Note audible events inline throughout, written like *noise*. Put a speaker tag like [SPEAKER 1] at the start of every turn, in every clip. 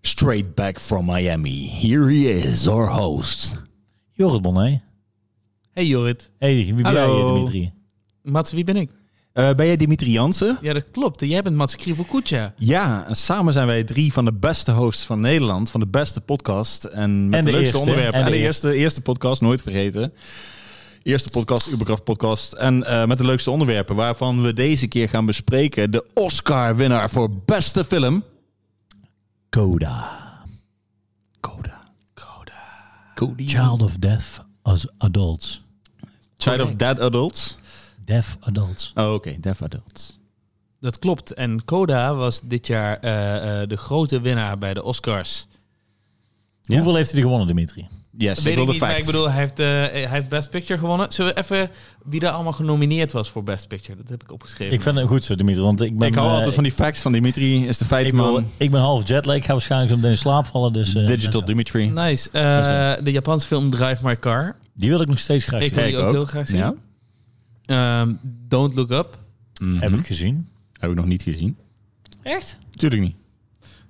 [SPEAKER 1] Straight back from Miami. Here he is, our host.
[SPEAKER 2] Jorrit Bonnet.
[SPEAKER 3] Hey Jorrit.
[SPEAKER 2] Hey, wie ben
[SPEAKER 3] Hallo.
[SPEAKER 2] jij, Dimitri?
[SPEAKER 3] Mats, wie ben ik?
[SPEAKER 1] Eh, ben jij Dimitri Jansen?
[SPEAKER 3] Ja, dat klopt. Jij bent Mats Krivokucha.
[SPEAKER 1] Ja, en samen zijn wij drie van de beste hosts van Nederland. Van de beste podcast. En met
[SPEAKER 2] En
[SPEAKER 1] de,
[SPEAKER 2] de
[SPEAKER 1] leukste
[SPEAKER 2] eerste,
[SPEAKER 1] onderwerpen.
[SPEAKER 2] en
[SPEAKER 1] En,
[SPEAKER 2] de
[SPEAKER 1] de eerste, eerste podcast, nooit vergeten. Eerste podcast, Uberkraft podcast. En eh, met de leukste onderwerpen. Waarvan we deze keer gaan bespreken. De Oscar-winnaar voor beste film.
[SPEAKER 2] Coda.
[SPEAKER 1] Coda. Coda. Cody.
[SPEAKER 2] Child of Death as Adults.
[SPEAKER 1] Child of Dead Adults.
[SPEAKER 2] Deaf Adults.
[SPEAKER 1] Oh, oké. Deaf Adults.
[SPEAKER 3] Dat klopt. En Coda was dit jaar eh, eh, de grote winnaar bij de Oscars.
[SPEAKER 1] Ja.
[SPEAKER 2] Hoeveel heeft hij gewonnen, Dimitri?
[SPEAKER 1] Yes,
[SPEAKER 3] Weet
[SPEAKER 1] wil
[SPEAKER 3] ik
[SPEAKER 1] de
[SPEAKER 3] niet, maar ik
[SPEAKER 1] facts.
[SPEAKER 3] bedoel, hij heeft, eh, hij heeft Best Picture gewonnen. Zullen we even wie daar allemaal genomineerd was voor Best Picture? Dat heb ik opgeschreven.
[SPEAKER 2] Ik vind het goed zo, Dimitri, want ik ben...
[SPEAKER 1] ik hou
[SPEAKER 2] eh,
[SPEAKER 1] altijd van die facts van Dimitri. Is de
[SPEAKER 2] ik ben,
[SPEAKER 1] feitman.
[SPEAKER 2] ik ben half jetlag, ik ga waarschijnlijk zo meteen in slaap vallen, dus... eh,
[SPEAKER 1] Digital Dimitri.
[SPEAKER 3] Nice. Eh, de Japanse film Drive My Car.
[SPEAKER 2] Die wil ik nog steeds graag
[SPEAKER 3] Ik
[SPEAKER 2] zien.
[SPEAKER 3] wil die
[SPEAKER 1] ik
[SPEAKER 3] ook,
[SPEAKER 1] ook.
[SPEAKER 3] heel graag zien.
[SPEAKER 1] Ja.
[SPEAKER 3] Ehm, Don't Look Up.
[SPEAKER 1] Mhm.
[SPEAKER 2] Heb ik gezien.
[SPEAKER 1] Heb ik nog niet gezien.
[SPEAKER 2] Echt?
[SPEAKER 1] Tuurlijk niet.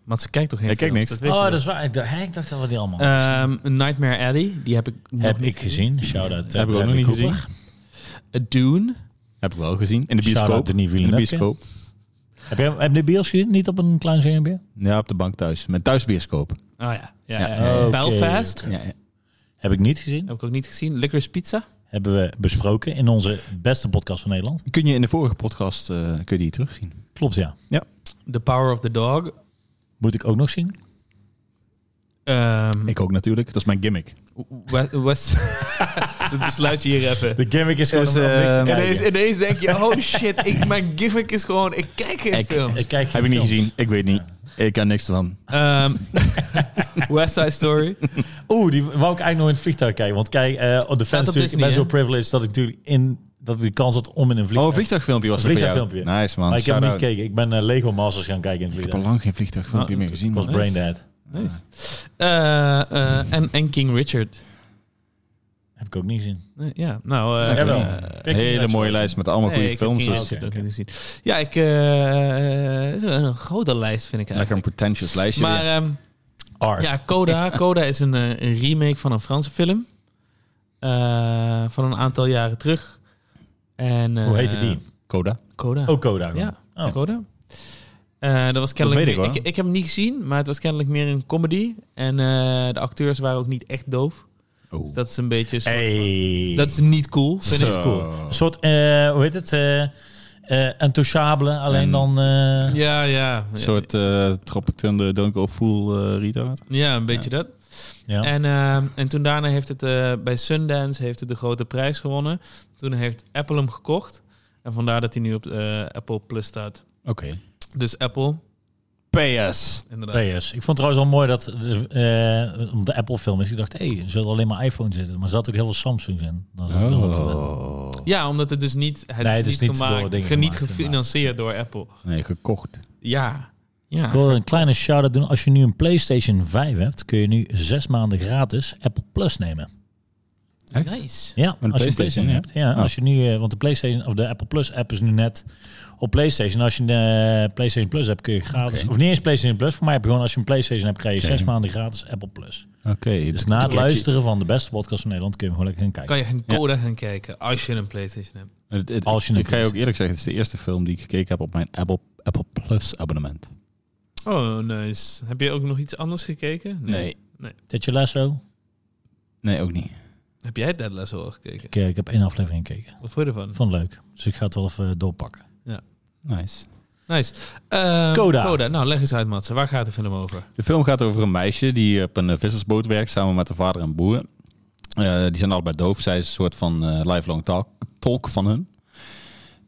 [SPEAKER 3] Mats kijkt toch geen
[SPEAKER 1] Ik kijk
[SPEAKER 3] films?
[SPEAKER 1] niks.
[SPEAKER 3] Dat weet
[SPEAKER 2] Oh,
[SPEAKER 3] je
[SPEAKER 2] dat
[SPEAKER 3] wel.
[SPEAKER 2] is waar. Ik dacht, hè, ik dacht dat we die
[SPEAKER 1] Eh,
[SPEAKER 2] allemaal...
[SPEAKER 3] Ehm, Nightmare Alley. Die heb ik nog
[SPEAKER 2] heb
[SPEAKER 3] niet
[SPEAKER 2] ik gezien. Shout-out. eh,
[SPEAKER 1] Heb ik ook nog
[SPEAKER 2] Bradley
[SPEAKER 1] niet
[SPEAKER 2] Cooper.
[SPEAKER 1] gezien.
[SPEAKER 3] Eh, Dune.
[SPEAKER 1] Heb ik wel gezien. In de
[SPEAKER 2] Shout-out
[SPEAKER 1] bioscoop.
[SPEAKER 2] Denis
[SPEAKER 1] In de
[SPEAKER 2] Villeneuve.
[SPEAKER 1] bioscoop.
[SPEAKER 2] Heb je heb je de bios gezien? Niet op een klein schermpje?
[SPEAKER 1] Ja, op de bank thuis. Met thuisbioscoop.
[SPEAKER 3] Oh ja. ja,
[SPEAKER 1] Ja,
[SPEAKER 3] ja, ja.
[SPEAKER 2] oké.
[SPEAKER 3] Belfast.
[SPEAKER 1] Ja, ja.
[SPEAKER 2] Heb ik niet gezien.
[SPEAKER 1] Oh.
[SPEAKER 3] Heb ik ook niet gezien. Licorice Pizza.
[SPEAKER 2] Hebben we besproken in onze beste podcast van Nederland.
[SPEAKER 1] Kun je in de vorige podcast eh, kun je die terugzien?
[SPEAKER 2] Klopt, ja.
[SPEAKER 3] The Power of the Dog.
[SPEAKER 2] Moet ik ook nog zien?
[SPEAKER 3] Ehm,
[SPEAKER 1] Ik ook natuurlijk. Dat is mijn gimmick.
[SPEAKER 3] we- West... *laughs* Dat besluit je hier even.
[SPEAKER 2] De gimmick is gewoon
[SPEAKER 1] Is,
[SPEAKER 2] om- om niks te
[SPEAKER 1] eh,
[SPEAKER 2] kijken.
[SPEAKER 3] Ineens, ineens denk je, oh shit, ik, mijn gimmick is gewoon, ik kijk geen films.
[SPEAKER 2] Ik kijk
[SPEAKER 1] Heb ik niet gezien. Ik weet niet. Ik ken niks van.
[SPEAKER 3] Ehm, *laughs* West Side Story.
[SPEAKER 2] Oeh, die wou ik eigenlijk nog in het vliegtuig kijken. Want kijk, eh op de fans natuurlijk
[SPEAKER 3] op Disney,
[SPEAKER 2] best wel
[SPEAKER 3] hè?
[SPEAKER 2] privileged dat ik natuurlijk in dat ik de kans had om in een
[SPEAKER 1] Oh, een
[SPEAKER 2] vliegtuig.
[SPEAKER 1] vliegtuigfilmpje was
[SPEAKER 2] Een
[SPEAKER 1] het voor jou.
[SPEAKER 2] vliegtuigfilmpje.
[SPEAKER 1] Nice man.
[SPEAKER 2] maar ik heb hem niet
[SPEAKER 1] Shout-out.
[SPEAKER 2] gekeken. Ik ben eh, Lego Masters gaan kijken in het
[SPEAKER 1] Ik heb
[SPEAKER 2] vliegtuig.
[SPEAKER 1] al lang geen vliegtuigfilmpje meer gezien.
[SPEAKER 2] Ik was
[SPEAKER 1] man.
[SPEAKER 2] brain dead.
[SPEAKER 3] Nice. Eh, eh, en, en King Richard.
[SPEAKER 2] Heb ik ook niet gezien.
[SPEAKER 3] Eh, ja, nou... eh,
[SPEAKER 2] Jawel.
[SPEAKER 3] eh,
[SPEAKER 2] Kijk,
[SPEAKER 1] Een hele
[SPEAKER 2] inderdaad,
[SPEAKER 1] mooie
[SPEAKER 2] zo.
[SPEAKER 1] lijst met allemaal
[SPEAKER 3] nee,
[SPEAKER 1] goede
[SPEAKER 3] ik heb
[SPEAKER 1] films.
[SPEAKER 3] King
[SPEAKER 1] dus.
[SPEAKER 2] dus.
[SPEAKER 3] Richard
[SPEAKER 2] Oké,
[SPEAKER 3] ook niet gezien. Ja, ik... eh, het is een grote lijst vind ik
[SPEAKER 1] Lekker
[SPEAKER 3] eigenlijk.
[SPEAKER 1] een pretentious lijstje.
[SPEAKER 3] Maar...
[SPEAKER 1] weer.
[SPEAKER 3] ehm,
[SPEAKER 2] Art.
[SPEAKER 3] Ja, Coda. Coda is een, eh, een remake van een Franse film. Eh, van een aantal jaren terug. En, eh,
[SPEAKER 2] Hoe heette die?
[SPEAKER 1] Coda.
[SPEAKER 3] Coda.
[SPEAKER 2] Ook Coda. gewoon.
[SPEAKER 3] Ja,
[SPEAKER 2] Oh.
[SPEAKER 3] Coda. Eh, dat was kennelijk
[SPEAKER 1] weet ik,
[SPEAKER 3] meer-
[SPEAKER 1] hoor.
[SPEAKER 3] ik, heb hem niet gezien, maar het was kennelijk meer een comedy. En eh, de acteurs waren ook niet echt doof.
[SPEAKER 1] Oh.
[SPEAKER 3] Dus dat is een beetje... een soort-
[SPEAKER 2] Hey.
[SPEAKER 3] Dat is niet cool, vind ik.
[SPEAKER 1] Zo.
[SPEAKER 2] cool. Een soort, eh, hoe heet het? eh eh intouchable, alleen
[SPEAKER 1] En-
[SPEAKER 2] dan... eh,
[SPEAKER 3] Ja, ja.
[SPEAKER 1] Een soort eh Tropic Thunder, Don't Go Fool eh, retard.
[SPEAKER 3] Ja, een beetje dat.
[SPEAKER 2] ja.
[SPEAKER 3] En, ehm, en toen daarna heeft het eh, bij Sundance heeft het de grote prijs gewonnen. Toen heeft Apple hem gekocht. En vandaar dat hij nu op eh, Apple Plus staat.
[SPEAKER 1] Oké.
[SPEAKER 3] Dus Apple,
[SPEAKER 1] PS.
[SPEAKER 3] inderdaad.
[SPEAKER 2] PS. Ik vond trouwens al mooi dat de, eh, om de Apple film is. Ik dacht, hé, hey, er zullen alleen maar iPhone zitten. Maar er zat ook heel veel Samsung in. Dan
[SPEAKER 1] Oh.
[SPEAKER 2] zat er nog wat, eh,
[SPEAKER 3] Ja, omdat het dus niet... Het
[SPEAKER 2] Nee,
[SPEAKER 3] is
[SPEAKER 2] het is
[SPEAKER 3] niet
[SPEAKER 2] niet
[SPEAKER 3] gemaakt,
[SPEAKER 2] door dingen
[SPEAKER 3] ge- niet
[SPEAKER 2] gemaakt,
[SPEAKER 3] gefinancierd door Apple.
[SPEAKER 1] Nee, gekocht.
[SPEAKER 3] Ja.
[SPEAKER 2] Ik
[SPEAKER 3] Ja.
[SPEAKER 2] wil een kleine shout-out doen. Als je nu een PlayStation 5 hebt, kun je nu zes maanden gratis Apple Plus nemen.
[SPEAKER 1] Echt?
[SPEAKER 3] Nice.
[SPEAKER 2] Ja,
[SPEAKER 1] Met een
[SPEAKER 2] als je
[SPEAKER 1] PlayStation,
[SPEAKER 2] een PlayStation
[SPEAKER 1] ja?
[SPEAKER 2] hebt. Ja,
[SPEAKER 1] Oh.
[SPEAKER 2] als je nu, eh, want de PlayStation of de Apple Plus app is nu net op PlayStation. Als je een eh, PlayStation Plus hebt, kun je gratis.
[SPEAKER 1] Oké.
[SPEAKER 2] Of niet eens PlayStation Plus. Voor mij heb je gewoon als je een PlayStation hebt, krijg je
[SPEAKER 1] Oké.
[SPEAKER 2] zes maanden gratis Apple Plus.
[SPEAKER 1] Oké.
[SPEAKER 2] Dus na het
[SPEAKER 1] Kijk,
[SPEAKER 2] luisteren van de beste podcast van Nederland kun je hem gewoon lekker gaan kijken.
[SPEAKER 3] Kan je geen code gaan kijken als je een PlayStation hebt.
[SPEAKER 1] je- het- het-
[SPEAKER 2] Als je het
[SPEAKER 1] ik ga je
[SPEAKER 2] leest.
[SPEAKER 1] ook eerlijk zeggen, het is de eerste film die ik gekeken heb op mijn Apple, Apple Plus abonnement.
[SPEAKER 3] Oh, nice. Heb je ook nog iets anders gekeken?
[SPEAKER 2] Ted Lasso?
[SPEAKER 1] Nee, ook niet.
[SPEAKER 3] Heb jij Dead Lasso al gekeken?
[SPEAKER 2] Ik, eh, ik heb één aflevering gekeken.
[SPEAKER 3] Wat vond je ervan?
[SPEAKER 2] Vond het leuk. Dus ik ga het wel even doorpakken.
[SPEAKER 1] Nice.
[SPEAKER 3] Nice. Ehm,
[SPEAKER 2] Coda.
[SPEAKER 3] Nou, leg eens uit, Mats. Waar gaat de film over?
[SPEAKER 1] De film gaat over een meisje die op een eh, vissersboot werkt samen met haar vader en broer. Eh, die zijn allebei doof. Zij is een soort van eh, lifelong talk, tolk van hun.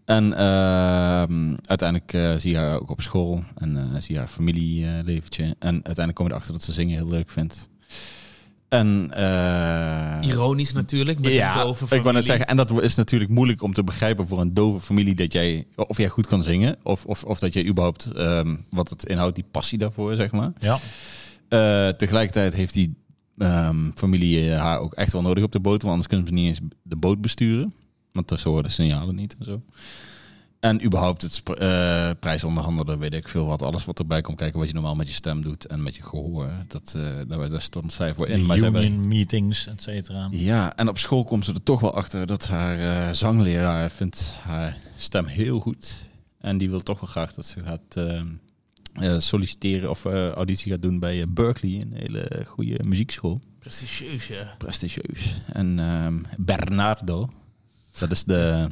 [SPEAKER 1] En ehm, uiteindelijk eh, zie je haar ook op school en eh, zie je haar familieleventje. en uiteindelijk kom je erachter dat ze zingen heel leuk vindt. En eh,
[SPEAKER 3] Ironisch natuurlijk, met een dove
[SPEAKER 1] ik wou net
[SPEAKER 3] familie.
[SPEAKER 1] zeggen, en dat is natuurlijk moeilijk om te begrijpen voor een dove familie dat jij, of jij goed kan zingen, of, of, of dat jij überhaupt ehm, wat het inhoudt, die passie daarvoor, zeg maar.
[SPEAKER 2] Ja.
[SPEAKER 1] Eh, tegelijkertijd heeft die ehm, familie haar ook echt wel nodig op de boot. Want anders kunnen ze niet eens de boot besturen. Want daar- zo horen de signalen niet en zo. En überhaupt het sp- eh, prijsonderhandelen, weet ik veel wat. Alles wat erbij komt kijken, wat je normaal met je stem doet en met je gehoor. Dat, eh, daar, daar stond zij voor in.
[SPEAKER 2] De
[SPEAKER 1] Maar zij werd-
[SPEAKER 2] union meetings, et cetera.
[SPEAKER 1] ja, en op school komt ze er toch wel achter dat haar eh, zangleraar vindt haar stem heel goed. En die wil toch wel graag dat ze gaat eh, eh, solliciteren of eh, auditie gaat doen bij eh, Berkeley. Een hele goede muziekschool.
[SPEAKER 3] Prestigieus, ja.
[SPEAKER 1] Prestigieus. En ehm, Bernardo, dat is de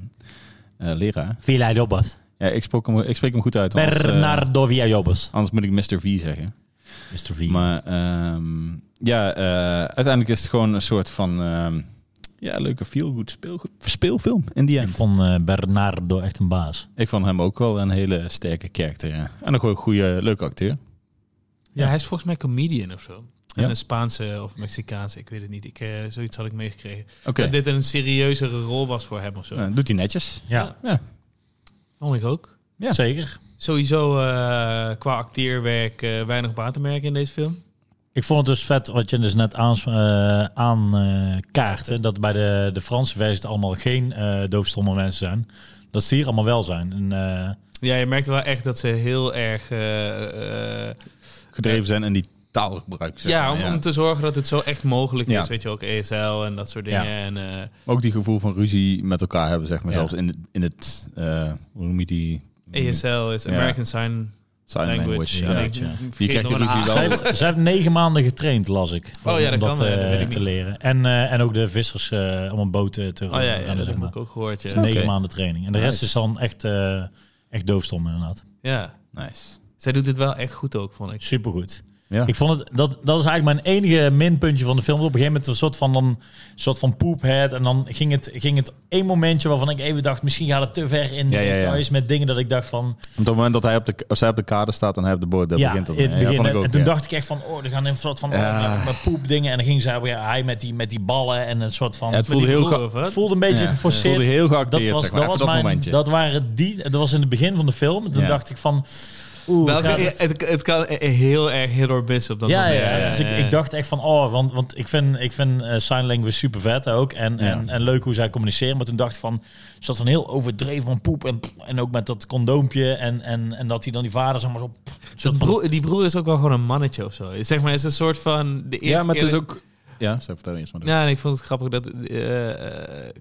[SPEAKER 1] eh, leraar.
[SPEAKER 2] Villalobos.
[SPEAKER 1] Ja, ik, sprak hem, ik spreek hem goed uit. anders, eh,
[SPEAKER 2] Bernardo Villalobos.
[SPEAKER 1] anders moet ik Mr. V zeggen.
[SPEAKER 2] Mr. V.
[SPEAKER 1] Maar ehm, ja, eh, uiteindelijk is het gewoon een soort van ehm, ja, leuke feel-good speelgoed- speelfilm in die
[SPEAKER 2] Ik
[SPEAKER 1] end.
[SPEAKER 2] vond eh, Bernardo echt een baas.
[SPEAKER 1] Ik vond hem ook wel een hele sterke karakter. Ja. En ook wel een goede, leuke acteur.
[SPEAKER 3] Ja, hij is volgens mij comedian of zo. En
[SPEAKER 1] Ja.
[SPEAKER 3] een Spaanse of Mexicaanse, ik weet het niet. Ik, eh, zoiets had ik meegekregen.
[SPEAKER 1] Oké,
[SPEAKER 3] Dat dit een serieuzere rol was voor hem of zo.
[SPEAKER 1] Nou, doet hij netjes.
[SPEAKER 2] Ja,
[SPEAKER 3] Vond ik ook.
[SPEAKER 1] Ja.
[SPEAKER 2] zeker.
[SPEAKER 3] Sowieso eh, qua acteerwerk eh, weinig baat te merken in deze film.
[SPEAKER 2] Ik vond het dus vet wat je dus net aans- eh, aan aankaartte. dat bij de, de Franse versie het allemaal geen eh doofstomme mensen zijn. Dat ze hier allemaal wel zijn. En, eh,
[SPEAKER 3] Ja, je merkt wel echt dat ze heel erg... eh, eh,
[SPEAKER 1] Gedreven zijn en die taalgebruik. zeg
[SPEAKER 3] ja,
[SPEAKER 1] maar,
[SPEAKER 3] om, om te zorgen dat het zo echt mogelijk
[SPEAKER 1] Ja.
[SPEAKER 3] is. Weet je, ook ESL en dat soort dingen.
[SPEAKER 2] Ja.
[SPEAKER 3] En, eh,
[SPEAKER 1] Ook die gevoel van ruzie met elkaar hebben, zeg maar.
[SPEAKER 2] Ja.
[SPEAKER 1] Zelfs in, het- in het, eh, hoe noem je die?
[SPEAKER 3] eh, ESL is
[SPEAKER 1] Ja.
[SPEAKER 3] American Sign
[SPEAKER 1] Sign language.
[SPEAKER 3] Language.
[SPEAKER 1] ja.
[SPEAKER 3] En
[SPEAKER 2] Ja.
[SPEAKER 3] ik
[SPEAKER 2] Ja.
[SPEAKER 3] vergeet
[SPEAKER 1] Je krijgt
[SPEAKER 3] nog
[SPEAKER 1] de
[SPEAKER 3] een
[SPEAKER 1] ruzie
[SPEAKER 3] A.
[SPEAKER 1] wel.
[SPEAKER 2] Zij heeft, zij heeft negen maanden getraind, las ik.
[SPEAKER 3] Oh ja, dat
[SPEAKER 2] om
[SPEAKER 3] kan,
[SPEAKER 2] eh,
[SPEAKER 3] eh, dat weet ik
[SPEAKER 2] te
[SPEAKER 3] niet.
[SPEAKER 2] leren. En, eh, en ook de vissers eh, om een boot eh, te
[SPEAKER 3] Oh ja, ja,
[SPEAKER 2] rennen,
[SPEAKER 3] dat
[SPEAKER 2] zeg
[SPEAKER 3] heb
[SPEAKER 2] maar.
[SPEAKER 3] ik ook gehoord.
[SPEAKER 2] Dus
[SPEAKER 3] Ja.
[SPEAKER 2] negen
[SPEAKER 1] Oké.
[SPEAKER 2] maanden training. En de rest
[SPEAKER 1] Nice.
[SPEAKER 2] is dan echt, eh echt doofstom inderdaad.
[SPEAKER 3] ja.
[SPEAKER 1] Nice.
[SPEAKER 3] Zij doet het wel echt goed ook, vond ik.
[SPEAKER 2] Supergoed.
[SPEAKER 1] Ja.
[SPEAKER 2] Ik vond het, dat, dat is eigenlijk mijn enige minpuntje van de film. Op een gegeven moment een soort van, dan, soort van poephead. En dan ging het, ging het één momentje waarvan ik even dacht, misschien gaat het te ver in
[SPEAKER 1] Ja, ja, ja.
[SPEAKER 2] details met dingen dat ik dacht van...
[SPEAKER 1] Op het moment dat hij op de, of zij op de kade staat en hij op de boot, daar
[SPEAKER 2] ja,
[SPEAKER 1] begint dat.
[SPEAKER 2] in het
[SPEAKER 1] mee. Ja,
[SPEAKER 2] begin.
[SPEAKER 1] vond ik ook,
[SPEAKER 2] en toen
[SPEAKER 1] ja.
[SPEAKER 2] dacht ik echt van, oh, er gaan een soort van
[SPEAKER 1] Ja.
[SPEAKER 2] met, met poepdingen. En dan ging zij, ja, hij met die, met die ballen en een soort van...
[SPEAKER 1] Ja, het
[SPEAKER 2] het
[SPEAKER 1] voelde
[SPEAKER 3] die
[SPEAKER 1] heel
[SPEAKER 3] broer,
[SPEAKER 1] ge-
[SPEAKER 3] of wat?
[SPEAKER 2] voelde een beetje
[SPEAKER 1] Ja,
[SPEAKER 2] geforceerd.
[SPEAKER 1] voelde heel geacteerd,
[SPEAKER 2] dat was,
[SPEAKER 1] zeg maar.
[SPEAKER 2] dat,
[SPEAKER 1] Even
[SPEAKER 2] was mijn,
[SPEAKER 1] momentje.
[SPEAKER 2] dat waren die, dat was in het begin van de film. Toen
[SPEAKER 1] Ja.
[SPEAKER 2] dacht ik van, oeh,
[SPEAKER 3] Welke,
[SPEAKER 2] gaat het-
[SPEAKER 3] het, het kan heel erg hit or miss op dat
[SPEAKER 2] ja,
[SPEAKER 3] moment. Eh,
[SPEAKER 2] ja, ja. Dus ik, ik dacht echt van, oh, want, want ik vind, ik vind eh, sign language super vet ook. En, en, en leuk hoe zij communiceren. Maar toen dacht ik van, is dat van heel overdreven van poep. En, en ook met dat condoompje. En, en, en dat hij dan die vader zomaar zo...
[SPEAKER 3] Dat
[SPEAKER 2] soort van-
[SPEAKER 3] broer, die broer is ook wel gewoon een mannetje of zo. Zeg maar, het is een soort van... De eerste
[SPEAKER 1] ja, maar het
[SPEAKER 3] keer
[SPEAKER 1] is
[SPEAKER 3] dat-
[SPEAKER 1] ook... Ja, zij vertel eerst maar. door.
[SPEAKER 3] Ja, en ik vond het grappig dat... eh, eh,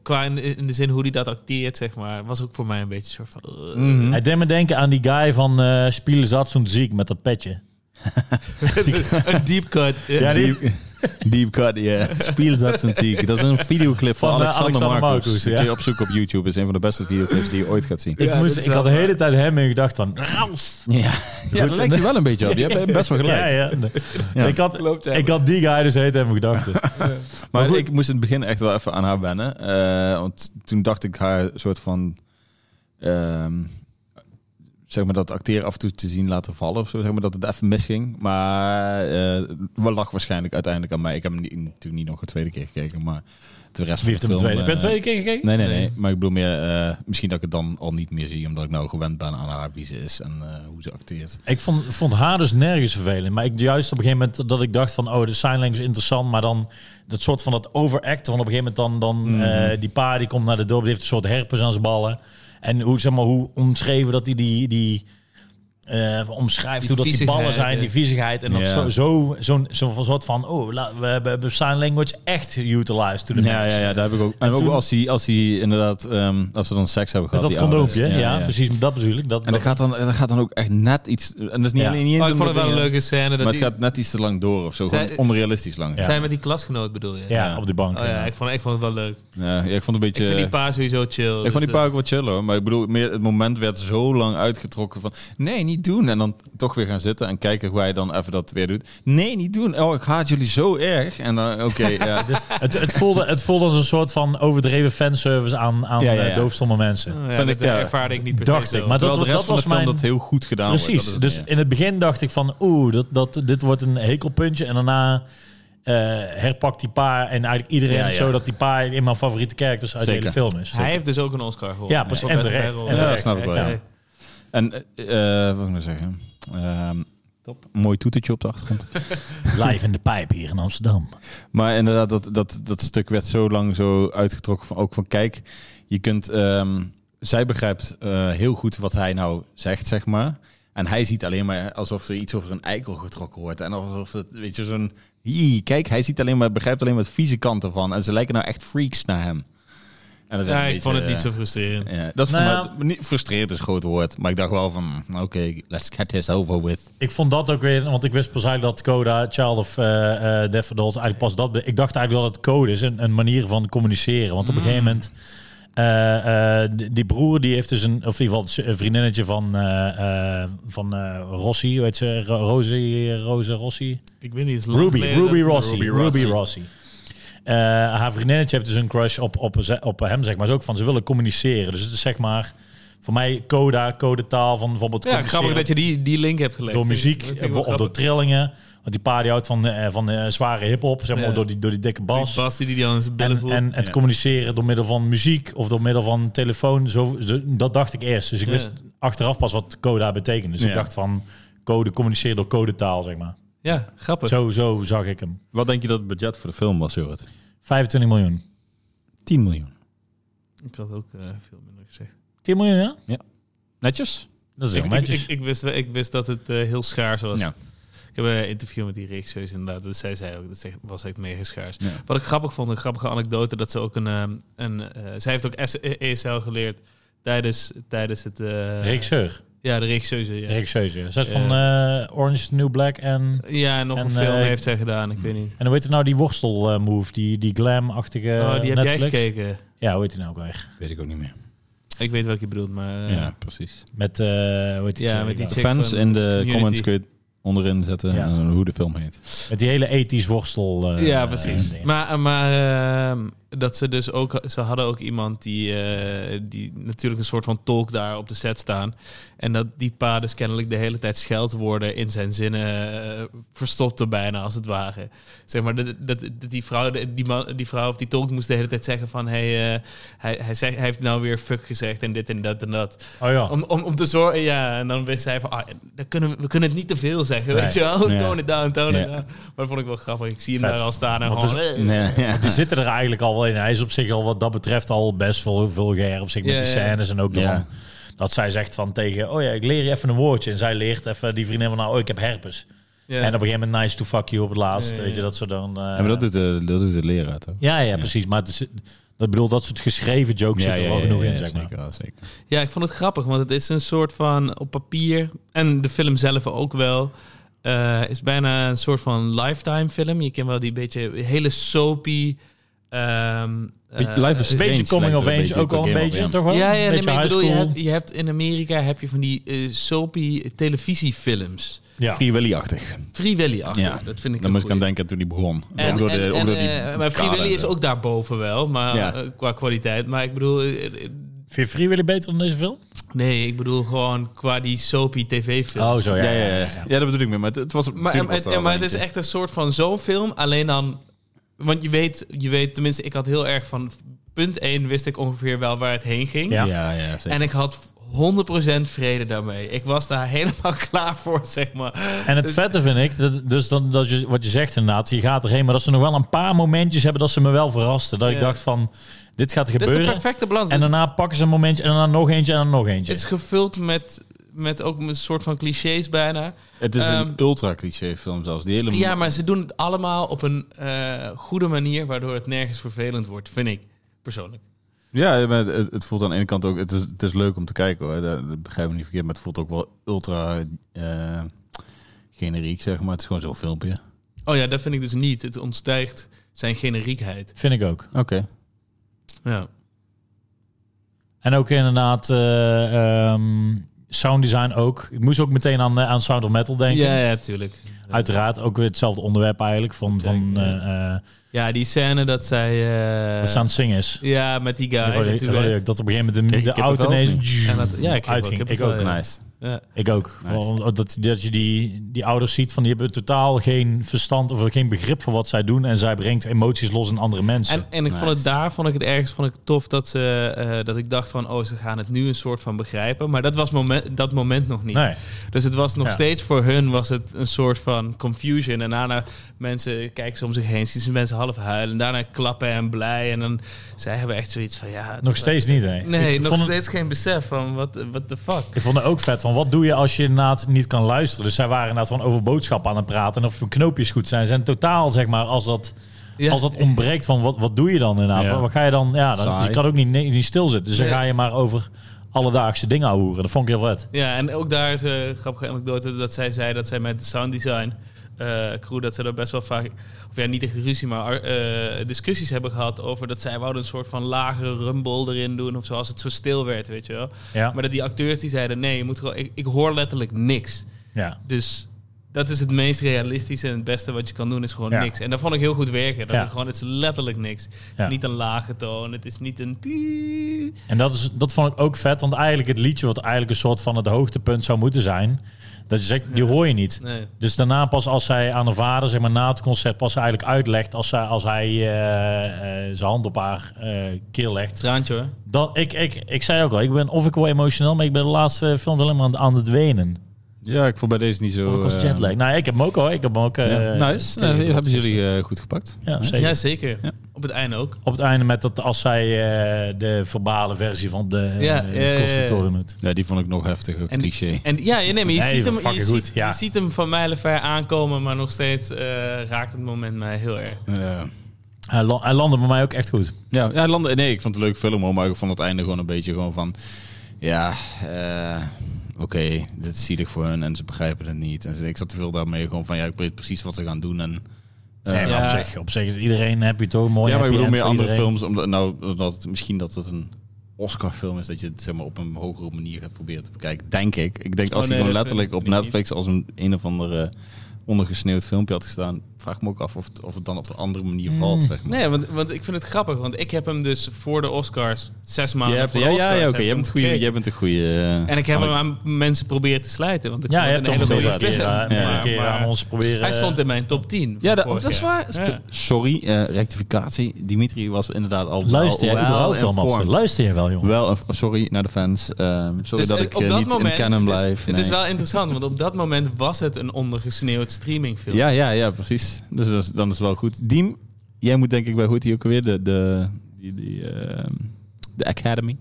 [SPEAKER 3] qua in, in de zin hoe hij dat acteert, zeg maar... Was ook voor mij een beetje een soort van... eh,
[SPEAKER 1] Mhm.
[SPEAKER 2] Hij deed me denken aan die guy van eh Spielen zat zo'n ziek met dat petje.
[SPEAKER 3] *laughs* een deep cut.
[SPEAKER 2] Ja, die-
[SPEAKER 1] Deep, *laughs* deep cut, ja. Spiel dat natuurlijk. Dat is een videoclip van,
[SPEAKER 2] Van, eh,
[SPEAKER 1] Alexander,
[SPEAKER 2] Alexander
[SPEAKER 1] Marcus.
[SPEAKER 2] Marcus,
[SPEAKER 1] Die
[SPEAKER 2] ja.
[SPEAKER 1] kun je opzoeken op YouTube. is een van de beste videoclips die je ooit gaat zien.
[SPEAKER 2] Ik,
[SPEAKER 3] dat
[SPEAKER 2] moest,
[SPEAKER 3] is
[SPEAKER 2] ik
[SPEAKER 3] wel
[SPEAKER 2] had de hele tijd hem in gedacht van... Raus!
[SPEAKER 1] Ja, ja
[SPEAKER 2] Goed.
[SPEAKER 1] dat lijkt hij wel een beetje op. Je *laughs* hebt best wel gelijk.
[SPEAKER 2] Ja, *laughs* ja. Nee.
[SPEAKER 1] Ja.
[SPEAKER 2] Ik, had, ik had die guy dus heet hem gedacht.
[SPEAKER 1] Maar ik moest in het begin echt wel even aan haar wennen. eh, want toen dacht ik haar soort van... ehm, zeg maar dat acteren af en toe te zien laten vallen of zo. Zeg maar dat het even misging. Maar eh wel lag waarschijnlijk uiteindelijk aan mij. Ik heb hem niet, natuurlijk niet nog een tweede keer gekeken. Maar de rest
[SPEAKER 2] Wie
[SPEAKER 1] van
[SPEAKER 2] heeft
[SPEAKER 1] de
[SPEAKER 2] hem
[SPEAKER 1] film...
[SPEAKER 2] de tweede? Heb je
[SPEAKER 1] eh,
[SPEAKER 2] de tweede keer gekeken?
[SPEAKER 1] Nee, nee, nee. Maar ik bedoel meer, eh, misschien dat ik het dan al niet meer zie, omdat ik nou gewend ben aan haar wie ze is en eh, hoe ze acteert.
[SPEAKER 2] Ik vond, vond haar dus nergens vervelend. Maar ik juist op een gegeven moment dat ik dacht van... oh, de sign language is interessant. Maar dan dat soort van dat overacten. Van op een gegeven moment dan... dan eh, die pa die komt naar de dorp. Die heeft een soort herpes aan zijn ballen. En hoe, zeg maar, hoe omschreven dat hij die... die eh, omschrijft
[SPEAKER 3] Die
[SPEAKER 2] hoe dat die ballen
[SPEAKER 3] viezigheid,
[SPEAKER 2] zijn,
[SPEAKER 3] ja.
[SPEAKER 2] die viezigheid. En dan
[SPEAKER 1] Ja.
[SPEAKER 2] zo, zo, zo'n zo'n soort van... oh, la- we hebben hebben sign language echt utilized. To the
[SPEAKER 1] Ja,
[SPEAKER 2] max.
[SPEAKER 1] ja, ja, daar heb ik ook. En, ook
[SPEAKER 2] toen-
[SPEAKER 1] als die, als die inderdaad, ehm, als ze dan seks hebben
[SPEAKER 2] Met
[SPEAKER 1] gehad.
[SPEAKER 2] dat
[SPEAKER 1] die ouders.
[SPEAKER 2] condoompje, ja, precies. Dat bedoel ik. Dat,
[SPEAKER 1] En dat gaat, dan, dat gaat dan ook echt net iets. En dat is niet
[SPEAKER 2] Ja.
[SPEAKER 1] alleen niet eens
[SPEAKER 3] Maar ik
[SPEAKER 1] omdat
[SPEAKER 3] vond het wel een
[SPEAKER 1] dingen-
[SPEAKER 3] leuke scène. Dat
[SPEAKER 1] Maar het
[SPEAKER 3] die,
[SPEAKER 1] gaat net iets te lang door of zo.
[SPEAKER 3] Zij-
[SPEAKER 1] gewoon onrealistisch lang. Ja.
[SPEAKER 2] Ja.
[SPEAKER 3] Zijn met die klasgenoot bedoel je?
[SPEAKER 2] ja, op die bank.
[SPEAKER 3] Oh ja,
[SPEAKER 2] ja.
[SPEAKER 3] ik vond, ik vond het wel leuk.
[SPEAKER 1] ja, ik vond het een
[SPEAKER 3] Ik
[SPEAKER 1] beetje.
[SPEAKER 3] vind die pa sowieso chill.
[SPEAKER 1] Ik vond die
[SPEAKER 3] dus,
[SPEAKER 1] paar ook wel chill hoor, maar ik bedoel, meer het moment werd zo lang uitgetrokken van nee, niet doen. En dan toch weer gaan zitten en kijken hoe hij dan even dat weer doet. Nee, niet doen. Oh, ik haat jullie zo erg. En dan, oké,
[SPEAKER 3] *laughs*
[SPEAKER 1] ja.
[SPEAKER 2] Het, het, voelde, het voelde als een soort van overdreven fanservice aan, aan
[SPEAKER 1] Ja, ja, Nou, ja.
[SPEAKER 2] eh, doofstomme
[SPEAKER 3] eh,
[SPEAKER 2] mensen.
[SPEAKER 3] oh ja,
[SPEAKER 1] Vind
[SPEAKER 3] dat
[SPEAKER 1] ik, ja.
[SPEAKER 3] ervaarde ik niet per se
[SPEAKER 2] Dacht ik,
[SPEAKER 3] zo.
[SPEAKER 2] maar dat-
[SPEAKER 1] Terwijl de rest van
[SPEAKER 2] was
[SPEAKER 1] de film
[SPEAKER 2] mijn-
[SPEAKER 1] dat heel goed gedaan wordt.
[SPEAKER 2] Precies.
[SPEAKER 1] Dat is het
[SPEAKER 2] dus
[SPEAKER 1] meer.
[SPEAKER 2] in het begin dacht ik van, oeh, dat, dat, dit wordt een hekelpuntje. En daarna eh, herpakt die paar en eigenlijk iedereen
[SPEAKER 1] Ja,
[SPEAKER 2] het
[SPEAKER 1] ja.
[SPEAKER 2] zo dat die paar een van mijn favoriete characters uit
[SPEAKER 1] Zeker.
[SPEAKER 2] de hele film is.
[SPEAKER 3] Hij heeft dus ook een Oscar gehoord.
[SPEAKER 2] Ja, precies. En terecht. En
[SPEAKER 1] Ja,
[SPEAKER 2] terecht.
[SPEAKER 1] dat snap ik wel, ja.
[SPEAKER 2] Ja.
[SPEAKER 1] En eh, eh, wat wil ik nou zeggen? Ehm, Mooi toetertje op de achtergrond.
[SPEAKER 2] Live in de pijp hier in Amsterdam.
[SPEAKER 1] maar inderdaad, dat, dat, dat stuk werd zo lang zo uitgetrokken. Van, ook van kijk, je kunt ehm, zij begrijpt eh, heel goed wat hij nou zegt, zeg maar. En hij ziet alleen maar alsof er iets over een eikel getrokken wordt. En alsof het, weet je, zo'n... Hie, Kijk, hij ziet alleen maar, begrijpt alleen maar het vieze kanten van. En ze lijken nou echt freaks naar hem. En dat werd
[SPEAKER 3] Ja,
[SPEAKER 1] een
[SPEAKER 3] ik vond het
[SPEAKER 1] beetje, eh,
[SPEAKER 3] niet zo frustrerend.
[SPEAKER 1] ja, dat is
[SPEAKER 2] Nou
[SPEAKER 1] voor mij, niet frustrerend is een groot woord, maar ik dacht wel van, hm, oké, let's get this over with.
[SPEAKER 2] Ik vond dat ook weer, want ik wist pas eigenlijk dat Coda, Child of eh eh Death Adults, eigenlijk pas dat. be- Ik dacht eigenlijk dat het code is, een, een manier van communiceren. Want op een gegeven moment, eh, eh, die- die broer die heeft dus een, of in ieder geval een vriendinnetje van, eh, eh, van eh, Rossi, hoe heet ze, Ro- Rosie, Rose Rossi?
[SPEAKER 3] Ik weet niet. het is lang
[SPEAKER 2] Ruby,
[SPEAKER 3] geleden
[SPEAKER 2] Ruby
[SPEAKER 3] dat-
[SPEAKER 2] Rossi.
[SPEAKER 1] Ruby
[SPEAKER 2] Ruby
[SPEAKER 1] Rossi.
[SPEAKER 2] Rossi. Eh, haar vriendinnetje heeft dus een crush op, op, ze- op hem, zeg maar. Ze ook van, ze willen communiceren. Dus het is zeg maar, voor mij coda, codetaal van bijvoorbeeld
[SPEAKER 3] Ja, grappig
[SPEAKER 2] communiceren
[SPEAKER 3] dat je die, die link hebt gelegd.
[SPEAKER 2] door muziek
[SPEAKER 3] Dat vind ik
[SPEAKER 2] eh,
[SPEAKER 3] wel
[SPEAKER 2] of door
[SPEAKER 3] grappig.
[SPEAKER 2] trillingen. Want die paar die houdt van, eh, van eh, zware hip-hop, zeg maar,
[SPEAKER 3] Ja.
[SPEAKER 2] door, die, door die dikke bas.
[SPEAKER 3] Die Bas die die dan in zijn billen
[SPEAKER 2] en,
[SPEAKER 3] voelt.
[SPEAKER 2] en het
[SPEAKER 1] Ja.
[SPEAKER 2] communiceren door middel van muziek of door middel van telefoon. Zo, zo- dat dacht ik eerst. Dus ik
[SPEAKER 3] Ja.
[SPEAKER 2] wist achteraf pas wat coda betekent. Dus
[SPEAKER 1] Ja.
[SPEAKER 2] ik dacht van code, communiceer door codetaal, zeg maar.
[SPEAKER 3] ja, grappig.
[SPEAKER 2] Zo, zo zag ik hem.
[SPEAKER 1] Wat denk je dat het budget voor de film was, Jorrit?
[SPEAKER 2] 25 miljoen.
[SPEAKER 1] 10 miljoen.
[SPEAKER 3] Ik had ook eh, veel minder gezegd.
[SPEAKER 2] 10 miljoen, ja?
[SPEAKER 1] Netjes?
[SPEAKER 2] Dat is
[SPEAKER 3] Ik,
[SPEAKER 2] heel
[SPEAKER 3] ik,
[SPEAKER 2] netjes.
[SPEAKER 3] ik, ik wist, wel- ik wist dat het eh, heel schaars was.
[SPEAKER 1] Ja.
[SPEAKER 3] Ik heb een interview met die regisseurs inderdaad. Dus zij zei ook, dat ze- was echt mega schaars.
[SPEAKER 1] Ja.
[SPEAKER 3] Wat ik grappig vond, een grappige anekdote, dat ze ook een... ehm, een eh, zij heeft ook S- E- ESL geleerd tijdens, tijdens het... eh,
[SPEAKER 2] Regisseur.
[SPEAKER 3] Ja, de regisseuse. Ja,
[SPEAKER 2] Regisseuse, ja. Zij is van eh, Orange is the New Black en...
[SPEAKER 3] ja en nog
[SPEAKER 2] En,
[SPEAKER 3] een film
[SPEAKER 2] eh,
[SPEAKER 3] heeft zij gedaan, ik weet niet.
[SPEAKER 2] En hoe heet het nou, die worstel eh, move, die, die glam-achtige
[SPEAKER 3] oh, die heb
[SPEAKER 2] eh, Netflix?
[SPEAKER 3] jij gekeken.
[SPEAKER 2] Ja, hoe heet die nou ook weer?
[SPEAKER 1] Weet ik ook niet meer.
[SPEAKER 3] Ik weet welke je bedoelt, maar... eh,
[SPEAKER 1] ja, precies.
[SPEAKER 2] Met, eh, hoe heet die
[SPEAKER 3] Ja,
[SPEAKER 2] chick
[SPEAKER 3] met die
[SPEAKER 2] nou?
[SPEAKER 1] De
[SPEAKER 3] chick
[SPEAKER 1] fans
[SPEAKER 3] van
[SPEAKER 1] in de
[SPEAKER 3] Community.
[SPEAKER 1] comments kun je het onderin zetten
[SPEAKER 2] Ja.
[SPEAKER 1] eh, hoe de film
[SPEAKER 3] *laughs*
[SPEAKER 1] heet.
[SPEAKER 2] Met die hele ethisch worstel. eh,
[SPEAKER 3] ja, precies.
[SPEAKER 2] dingen.
[SPEAKER 3] maar maar ehm, dat ze dus ook... Ze hadden ook iemand die, eh, die natuurlijk een soort van tolk daar op de set staan. En dat die pa dus kennelijk de hele tijd scheldwoorden in zijn zinnen eh, verstopte bijna, als het ware. Zeg maar, dat, dat, dat die, vrouw, die, man, die vrouw of die tolk moest de hele tijd zeggen van... Hey, eh, hij, hij, zegt, hij heeft nou weer fuck gezegd en dit en dat en dat.
[SPEAKER 2] Oh ja.
[SPEAKER 3] Om, om, om te zorgen, ja. En dan wist hij van, ah, dan kunnen we, we kunnen het niet te veel zeggen,
[SPEAKER 2] Nee.
[SPEAKER 3] weet je wel.
[SPEAKER 1] Ja.
[SPEAKER 3] Tone it down, tone
[SPEAKER 1] Ja.
[SPEAKER 3] it down. Maar dat vond ik wel grappig. Ik zie hem
[SPEAKER 2] Vet.
[SPEAKER 3] daar al staan en
[SPEAKER 2] Want
[SPEAKER 3] gewoon... eh.
[SPEAKER 1] Nee, ja.
[SPEAKER 2] Die zitten er eigenlijk al wel in. Hij is op zich al wat dat betreft al best wel vulgair op zich met
[SPEAKER 3] Ja,
[SPEAKER 2] die
[SPEAKER 3] ja.
[SPEAKER 2] scènes. En ook dan
[SPEAKER 1] Ja.
[SPEAKER 2] dat zij zegt van tegen, oh ja, ik leer je even een woordje. En zij leert even die vriendin van, nou, oh, ik heb herpes.
[SPEAKER 3] eh, Ja.
[SPEAKER 2] En op een gegeven moment nice to fuck you op het laatst.
[SPEAKER 3] Ja, ja, ja.
[SPEAKER 2] Weet je, dat soort dan... eh,
[SPEAKER 1] Ja, maar dat doet, de, dat doet de leraar toch?
[SPEAKER 2] ja, ja, precies. Maar het is, dat bedoel, dat soort geschreven jokes zitten er wel genoeg in, zeg maar.
[SPEAKER 1] zeker, wel, zeker.
[SPEAKER 3] ja, ik vond het grappig, want het is een soort van op papier... en de film zelf ook wel... eh, is bijna een soort van lifetime film. Je kent wel die beetje hele soapy... ehm, eh,
[SPEAKER 1] Life is
[SPEAKER 2] Een beetje
[SPEAKER 1] Strange
[SPEAKER 2] coming
[SPEAKER 1] lijkt
[SPEAKER 2] of
[SPEAKER 1] er een
[SPEAKER 2] age,
[SPEAKER 1] beetje
[SPEAKER 2] ook
[SPEAKER 1] op
[SPEAKER 2] wel een
[SPEAKER 1] Game of
[SPEAKER 2] beetje,
[SPEAKER 1] Thrones.
[SPEAKER 2] toch wel?
[SPEAKER 3] Ja, ja
[SPEAKER 2] Een
[SPEAKER 3] nee,
[SPEAKER 2] beetje
[SPEAKER 3] maar ik
[SPEAKER 2] high
[SPEAKER 3] bedoel, je
[SPEAKER 2] school.
[SPEAKER 3] hebt, je hebt in Amerika heb je van die eh, soapy televisiefilms.
[SPEAKER 2] Ja.
[SPEAKER 1] Free Willy-achtig.
[SPEAKER 3] Free Willy-achtig,
[SPEAKER 1] Ja.
[SPEAKER 3] dat vind ik
[SPEAKER 1] Daar
[SPEAKER 3] een
[SPEAKER 1] moest ik aan
[SPEAKER 3] goeie.
[SPEAKER 1] denken toen die begon.
[SPEAKER 3] En,
[SPEAKER 1] Ook door de-
[SPEAKER 3] en-
[SPEAKER 1] ook door
[SPEAKER 3] en,
[SPEAKER 1] die
[SPEAKER 3] eh, maar Free
[SPEAKER 1] kader
[SPEAKER 3] Willy
[SPEAKER 1] en
[SPEAKER 3] is
[SPEAKER 1] zo.
[SPEAKER 3] ook daarboven wel, maar
[SPEAKER 1] Ja.
[SPEAKER 3] eh, qua kwaliteit. Maar ik bedoel, eh, eh,
[SPEAKER 2] Vind je Free Willy beter dan deze film?
[SPEAKER 3] nee, ik bedoel gewoon qua die soapy tv-film.
[SPEAKER 2] Oh, zo, ja.
[SPEAKER 1] Ja, ja, ja, ja. ja, dat bedoel ik mee. Maar het, het was,
[SPEAKER 3] maar,
[SPEAKER 1] tuurlijk
[SPEAKER 3] en-
[SPEAKER 1] was
[SPEAKER 3] en-
[SPEAKER 1] er
[SPEAKER 3] maar
[SPEAKER 1] wel
[SPEAKER 3] het is
[SPEAKER 1] eentje.
[SPEAKER 3] echt een soort van zo'n film, alleen dan... Want je weet, je weet, tenminste, ik had heel erg van... Punt 1 wist ik ongeveer wel waar het heen ging.
[SPEAKER 2] Ja.
[SPEAKER 1] Ja, ja, zeker.
[SPEAKER 3] En ik had 100% vrede daarmee. Ik was daar *laughs* helemaal klaar voor, zeg maar.
[SPEAKER 2] En het vette vind ik, dat, dus dan, dat je, wat je zegt inderdaad, je gaat erheen, maar dat ze nog wel een paar momentjes hebben dat ze me wel verrasten. Dat
[SPEAKER 3] Ja.
[SPEAKER 2] ik dacht van, dit gaat
[SPEAKER 3] Dit is de
[SPEAKER 2] gebeuren.
[SPEAKER 3] perfecte balans.
[SPEAKER 2] en daarna pakken ze een momentje en dan nog eentje en dan nog eentje.
[SPEAKER 3] het is gevuld met, met ook een soort van clichés bijna.
[SPEAKER 1] het is een
[SPEAKER 3] ehm,
[SPEAKER 1] ultra cliché film zelfs. Die hele
[SPEAKER 3] Ja, maar ze doen het allemaal op een eh, goede manier, waardoor het nergens vervelend wordt, vind ik persoonlijk.
[SPEAKER 1] Ja, maar het, het voelt aan de ene kant ook... Het is, het is leuk om te kijken hoor, dat, dat begrijp ik niet verkeerd. Maar het voelt ook wel ultra eh, generiek, zeg maar. Het is gewoon zo'n filmpje.
[SPEAKER 3] Oh ja, dat vind ik dus niet. Het ontstijgt zijn generiekheid.
[SPEAKER 2] Vind ik ook.
[SPEAKER 1] Oké.
[SPEAKER 3] Ja.
[SPEAKER 2] En ook inderdaad, eh, ehm, sound design ook. Ik moest ook meteen aan, eh, aan Sound of Metal denken.
[SPEAKER 3] Ja, ja, tuurlijk.
[SPEAKER 2] Uiteraard, ook weer hetzelfde onderwerp eigenlijk. Van, van
[SPEAKER 3] Denk,
[SPEAKER 2] eh, eh,
[SPEAKER 3] Ja, die scène dat zij... eh,
[SPEAKER 2] dat ze aan het zingen is.
[SPEAKER 3] ja, met die guy.
[SPEAKER 2] Rode-
[SPEAKER 3] natuurlijk.
[SPEAKER 2] rode- dat op een gegeven moment de,
[SPEAKER 1] Kreeg je
[SPEAKER 2] de auto
[SPEAKER 1] kippenvel of
[SPEAKER 2] ineens
[SPEAKER 3] En dat- ja, ik kreeg wel
[SPEAKER 2] uitging. Ik
[SPEAKER 3] kippenvel,
[SPEAKER 2] ook.
[SPEAKER 3] ja.
[SPEAKER 1] Nice.
[SPEAKER 3] Ja.
[SPEAKER 2] Ik ook.
[SPEAKER 1] Nice.
[SPEAKER 2] Want Dat, dat je die, die ouders ziet van die hebben totaal geen verstand of geen begrip voor wat zij doen. En zij brengt emoties los in andere mensen.
[SPEAKER 3] En, en ik vond
[SPEAKER 1] Nice.
[SPEAKER 3] het daar, vond ik het ergens vond ik tof dat, ze, eh, dat ik dacht van, oh, ze gaan het nu een soort van begrijpen. Maar dat was moment, dat moment nog niet.
[SPEAKER 2] nee.
[SPEAKER 3] Dus het was nog
[SPEAKER 2] Ja.
[SPEAKER 3] steeds voor hun was het een soort van confusion. En daarna mensen kijken ze om zich heen, zien ze mensen half huilen. En daarna klappen en blij. En dan zij hebben echt zoiets van, ja...
[SPEAKER 2] Nog steeds niet, hè?
[SPEAKER 3] Nee,
[SPEAKER 2] ik,
[SPEAKER 3] nog
[SPEAKER 2] vond het,
[SPEAKER 3] steeds geen besef van, wat what the fuck.
[SPEAKER 2] ik vond het ook vet van, wat doe je als je inderdaad niet kan luisteren? Dus zij waren inderdaad van over boodschappen aan het praten en of hun knoopjes goed zijn. Zijn totaal, zeg maar, als dat,
[SPEAKER 3] Ja.
[SPEAKER 2] als dat ontbreekt van, wat, wat doe je dan inderdaad?
[SPEAKER 1] Ja.
[SPEAKER 2] Wat ga je dan, ja, dan,
[SPEAKER 1] Saai.
[SPEAKER 2] je kan ook niet, niet stilzitten. Dus dan
[SPEAKER 3] Nee.
[SPEAKER 2] ga je maar over alledaagse dingen hoeren. Dat vond ik heel vet.
[SPEAKER 3] Ja, en ook daar is een grappige anekdote dat zij zei dat zij met sound design eh, crew, dat ze daar best wel vaak, of ja, niet echt ruzie, maar eh, discussies hebben gehad over dat zij wouden een soort van lagere rumble erin doen of zoals het zo stil werd, weet je wel.
[SPEAKER 2] Ja,
[SPEAKER 3] Maar dat die acteurs die zeiden, nee, je moet gewoon, ik, ik hoor letterlijk niks.
[SPEAKER 2] ja.
[SPEAKER 3] Dus dat is het meest realistische en het beste wat je kan doen, is gewoon
[SPEAKER 2] Ja.
[SPEAKER 3] niks. En dat vond ik heel goed werken. Dat
[SPEAKER 2] Ja.
[SPEAKER 3] het gewoon, het is letterlijk niks. Het
[SPEAKER 2] Ja.
[SPEAKER 3] is niet een lage toon, het is niet een pie.
[SPEAKER 2] En dat, is, dat vond ik ook vet, want eigenlijk het liedje wat eigenlijk een soort van het hoogtepunt zou moeten zijn, dat je zegt, die hoor je niet.
[SPEAKER 3] Nee.
[SPEAKER 2] Dus daarna pas als zij aan haar vader, zeg maar na het concert, pas eigenlijk uitlegt als, zij, als hij eh, eh, zijn hand op haar eh, keel legt.
[SPEAKER 3] Traantje hoor.
[SPEAKER 2] Dan, ik, ik, ik zei ook al, ik ben of ik wel emotioneel, maar ik ben de laatste film wel helemaal aan, aan het wenen.
[SPEAKER 1] Ja, ik voel bij deze niet zo...
[SPEAKER 2] Of ik was
[SPEAKER 1] eh,
[SPEAKER 2] jetlag. Nou, ik heb hem ook al. Ik heb hem ook... eh,
[SPEAKER 1] ja. nice. Nou,
[SPEAKER 2] tegen-
[SPEAKER 1] hebben jullie eh, goed gepakt.
[SPEAKER 2] Ja, zeker.
[SPEAKER 3] Ja, zeker.
[SPEAKER 1] Ja.
[SPEAKER 3] Op het einde ook.
[SPEAKER 2] Op het einde met dat als zij eh, de verbale versie van de
[SPEAKER 3] Ja,
[SPEAKER 2] eh,
[SPEAKER 3] ja, ja, ja.
[SPEAKER 2] conservatorium doet.
[SPEAKER 1] Ja, die vond ik nog heftig, ook
[SPEAKER 3] En-
[SPEAKER 1] cliché.
[SPEAKER 3] En ja, ja, nee, maar je,
[SPEAKER 2] Nee,
[SPEAKER 3] ziet, hem, je,
[SPEAKER 2] fucking goed,
[SPEAKER 3] ziet,
[SPEAKER 2] ja.
[SPEAKER 3] je ziet hem van mijlenver aankomen, maar nog steeds eh, raakt het moment mij heel erg.
[SPEAKER 1] Ja.
[SPEAKER 2] Hij, la- hij landde bij mij ook echt goed.
[SPEAKER 1] Ja, ja Landen, nee, ik vond het een leuk film hoor, maar ik vond het einde gewoon een beetje gewoon van, ja, eh, oké, dit is zielig voor hun en ze begrijpen het niet. En ze- ik zat te veel daarmee gewoon van, ja, ik weet precies wat ze gaan doen en... eh,
[SPEAKER 2] Nee, maar
[SPEAKER 3] ja.
[SPEAKER 2] op, zich, op zich is iedereen happy toch? Mooi
[SPEAKER 1] ja, maar ik
[SPEAKER 2] happy
[SPEAKER 1] bedoel
[SPEAKER 2] end
[SPEAKER 1] meer
[SPEAKER 2] voor
[SPEAKER 1] andere
[SPEAKER 2] iedereen.
[SPEAKER 1] films, omdat, nou, omdat het, misschien dat het een Oscar-film is, dat je het zeg maar op een hogere manier gaat proberen te bekijken, denk ik. Ik denk als hij
[SPEAKER 3] Oh, nee,
[SPEAKER 1] gewoon
[SPEAKER 3] dat
[SPEAKER 1] letterlijk
[SPEAKER 3] vind
[SPEAKER 1] op
[SPEAKER 3] ik niet.
[SPEAKER 1] Netflix als een een of andere ondergesneeuwd filmpje had gestaan, vraag ik me ook af of het, of het dan op een andere manier valt, zeg maar.
[SPEAKER 3] Nee, want, want ik vind het grappig, want ik heb hem dus voor de Oscars, zes maanden
[SPEAKER 1] Je hebt,
[SPEAKER 3] voor
[SPEAKER 1] ja,
[SPEAKER 3] de
[SPEAKER 1] ja,
[SPEAKER 3] Oscars.
[SPEAKER 1] ja,
[SPEAKER 3] heb
[SPEAKER 1] oké.
[SPEAKER 3] ik
[SPEAKER 1] Jij
[SPEAKER 3] hem
[SPEAKER 1] bent een goeie- eh,
[SPEAKER 3] gekeken.
[SPEAKER 1] jij bent een goede.
[SPEAKER 3] En ik heb hem aan mensen proberen te slijten, want ik
[SPEAKER 2] Ja, je
[SPEAKER 3] vond
[SPEAKER 2] hebt
[SPEAKER 3] het
[SPEAKER 2] hem
[SPEAKER 3] een hele
[SPEAKER 2] inderdaad
[SPEAKER 3] goede film.
[SPEAKER 2] ja,
[SPEAKER 1] Ja.
[SPEAKER 2] eh, een keer eh,
[SPEAKER 3] Maar-
[SPEAKER 2] aan ons proberen.
[SPEAKER 3] Hij stond in mijn top 10. van
[SPEAKER 1] Ja, dat,
[SPEAKER 3] vorig
[SPEAKER 1] dat is
[SPEAKER 3] jaar.
[SPEAKER 1] waar.
[SPEAKER 3] Ja.
[SPEAKER 1] Sorry, eh, rectificatie. Dimitri was inderdaad al.
[SPEAKER 2] Luister
[SPEAKER 1] al,
[SPEAKER 2] je
[SPEAKER 1] wel
[SPEAKER 2] überhaupt wel, Mats?
[SPEAKER 1] informed.
[SPEAKER 2] Luister je wel, jongen?
[SPEAKER 1] Wel, eh, sorry naar de fans. Ehm, sorry
[SPEAKER 3] Dus,
[SPEAKER 1] dat
[SPEAKER 3] eh,
[SPEAKER 1] ik eh, niet in canon
[SPEAKER 3] is-
[SPEAKER 1] blijf.
[SPEAKER 3] het is
[SPEAKER 1] nee.
[SPEAKER 3] wel interessant, want op dat moment was het een ondergesneeuwd streamingfilm.
[SPEAKER 1] Ja, ja, ja, precies. Dus dat is- dan is het wel goed. Diem, jij moet denk ik bij Hoetie ook weer de, de, die, die, ehm, de Academy.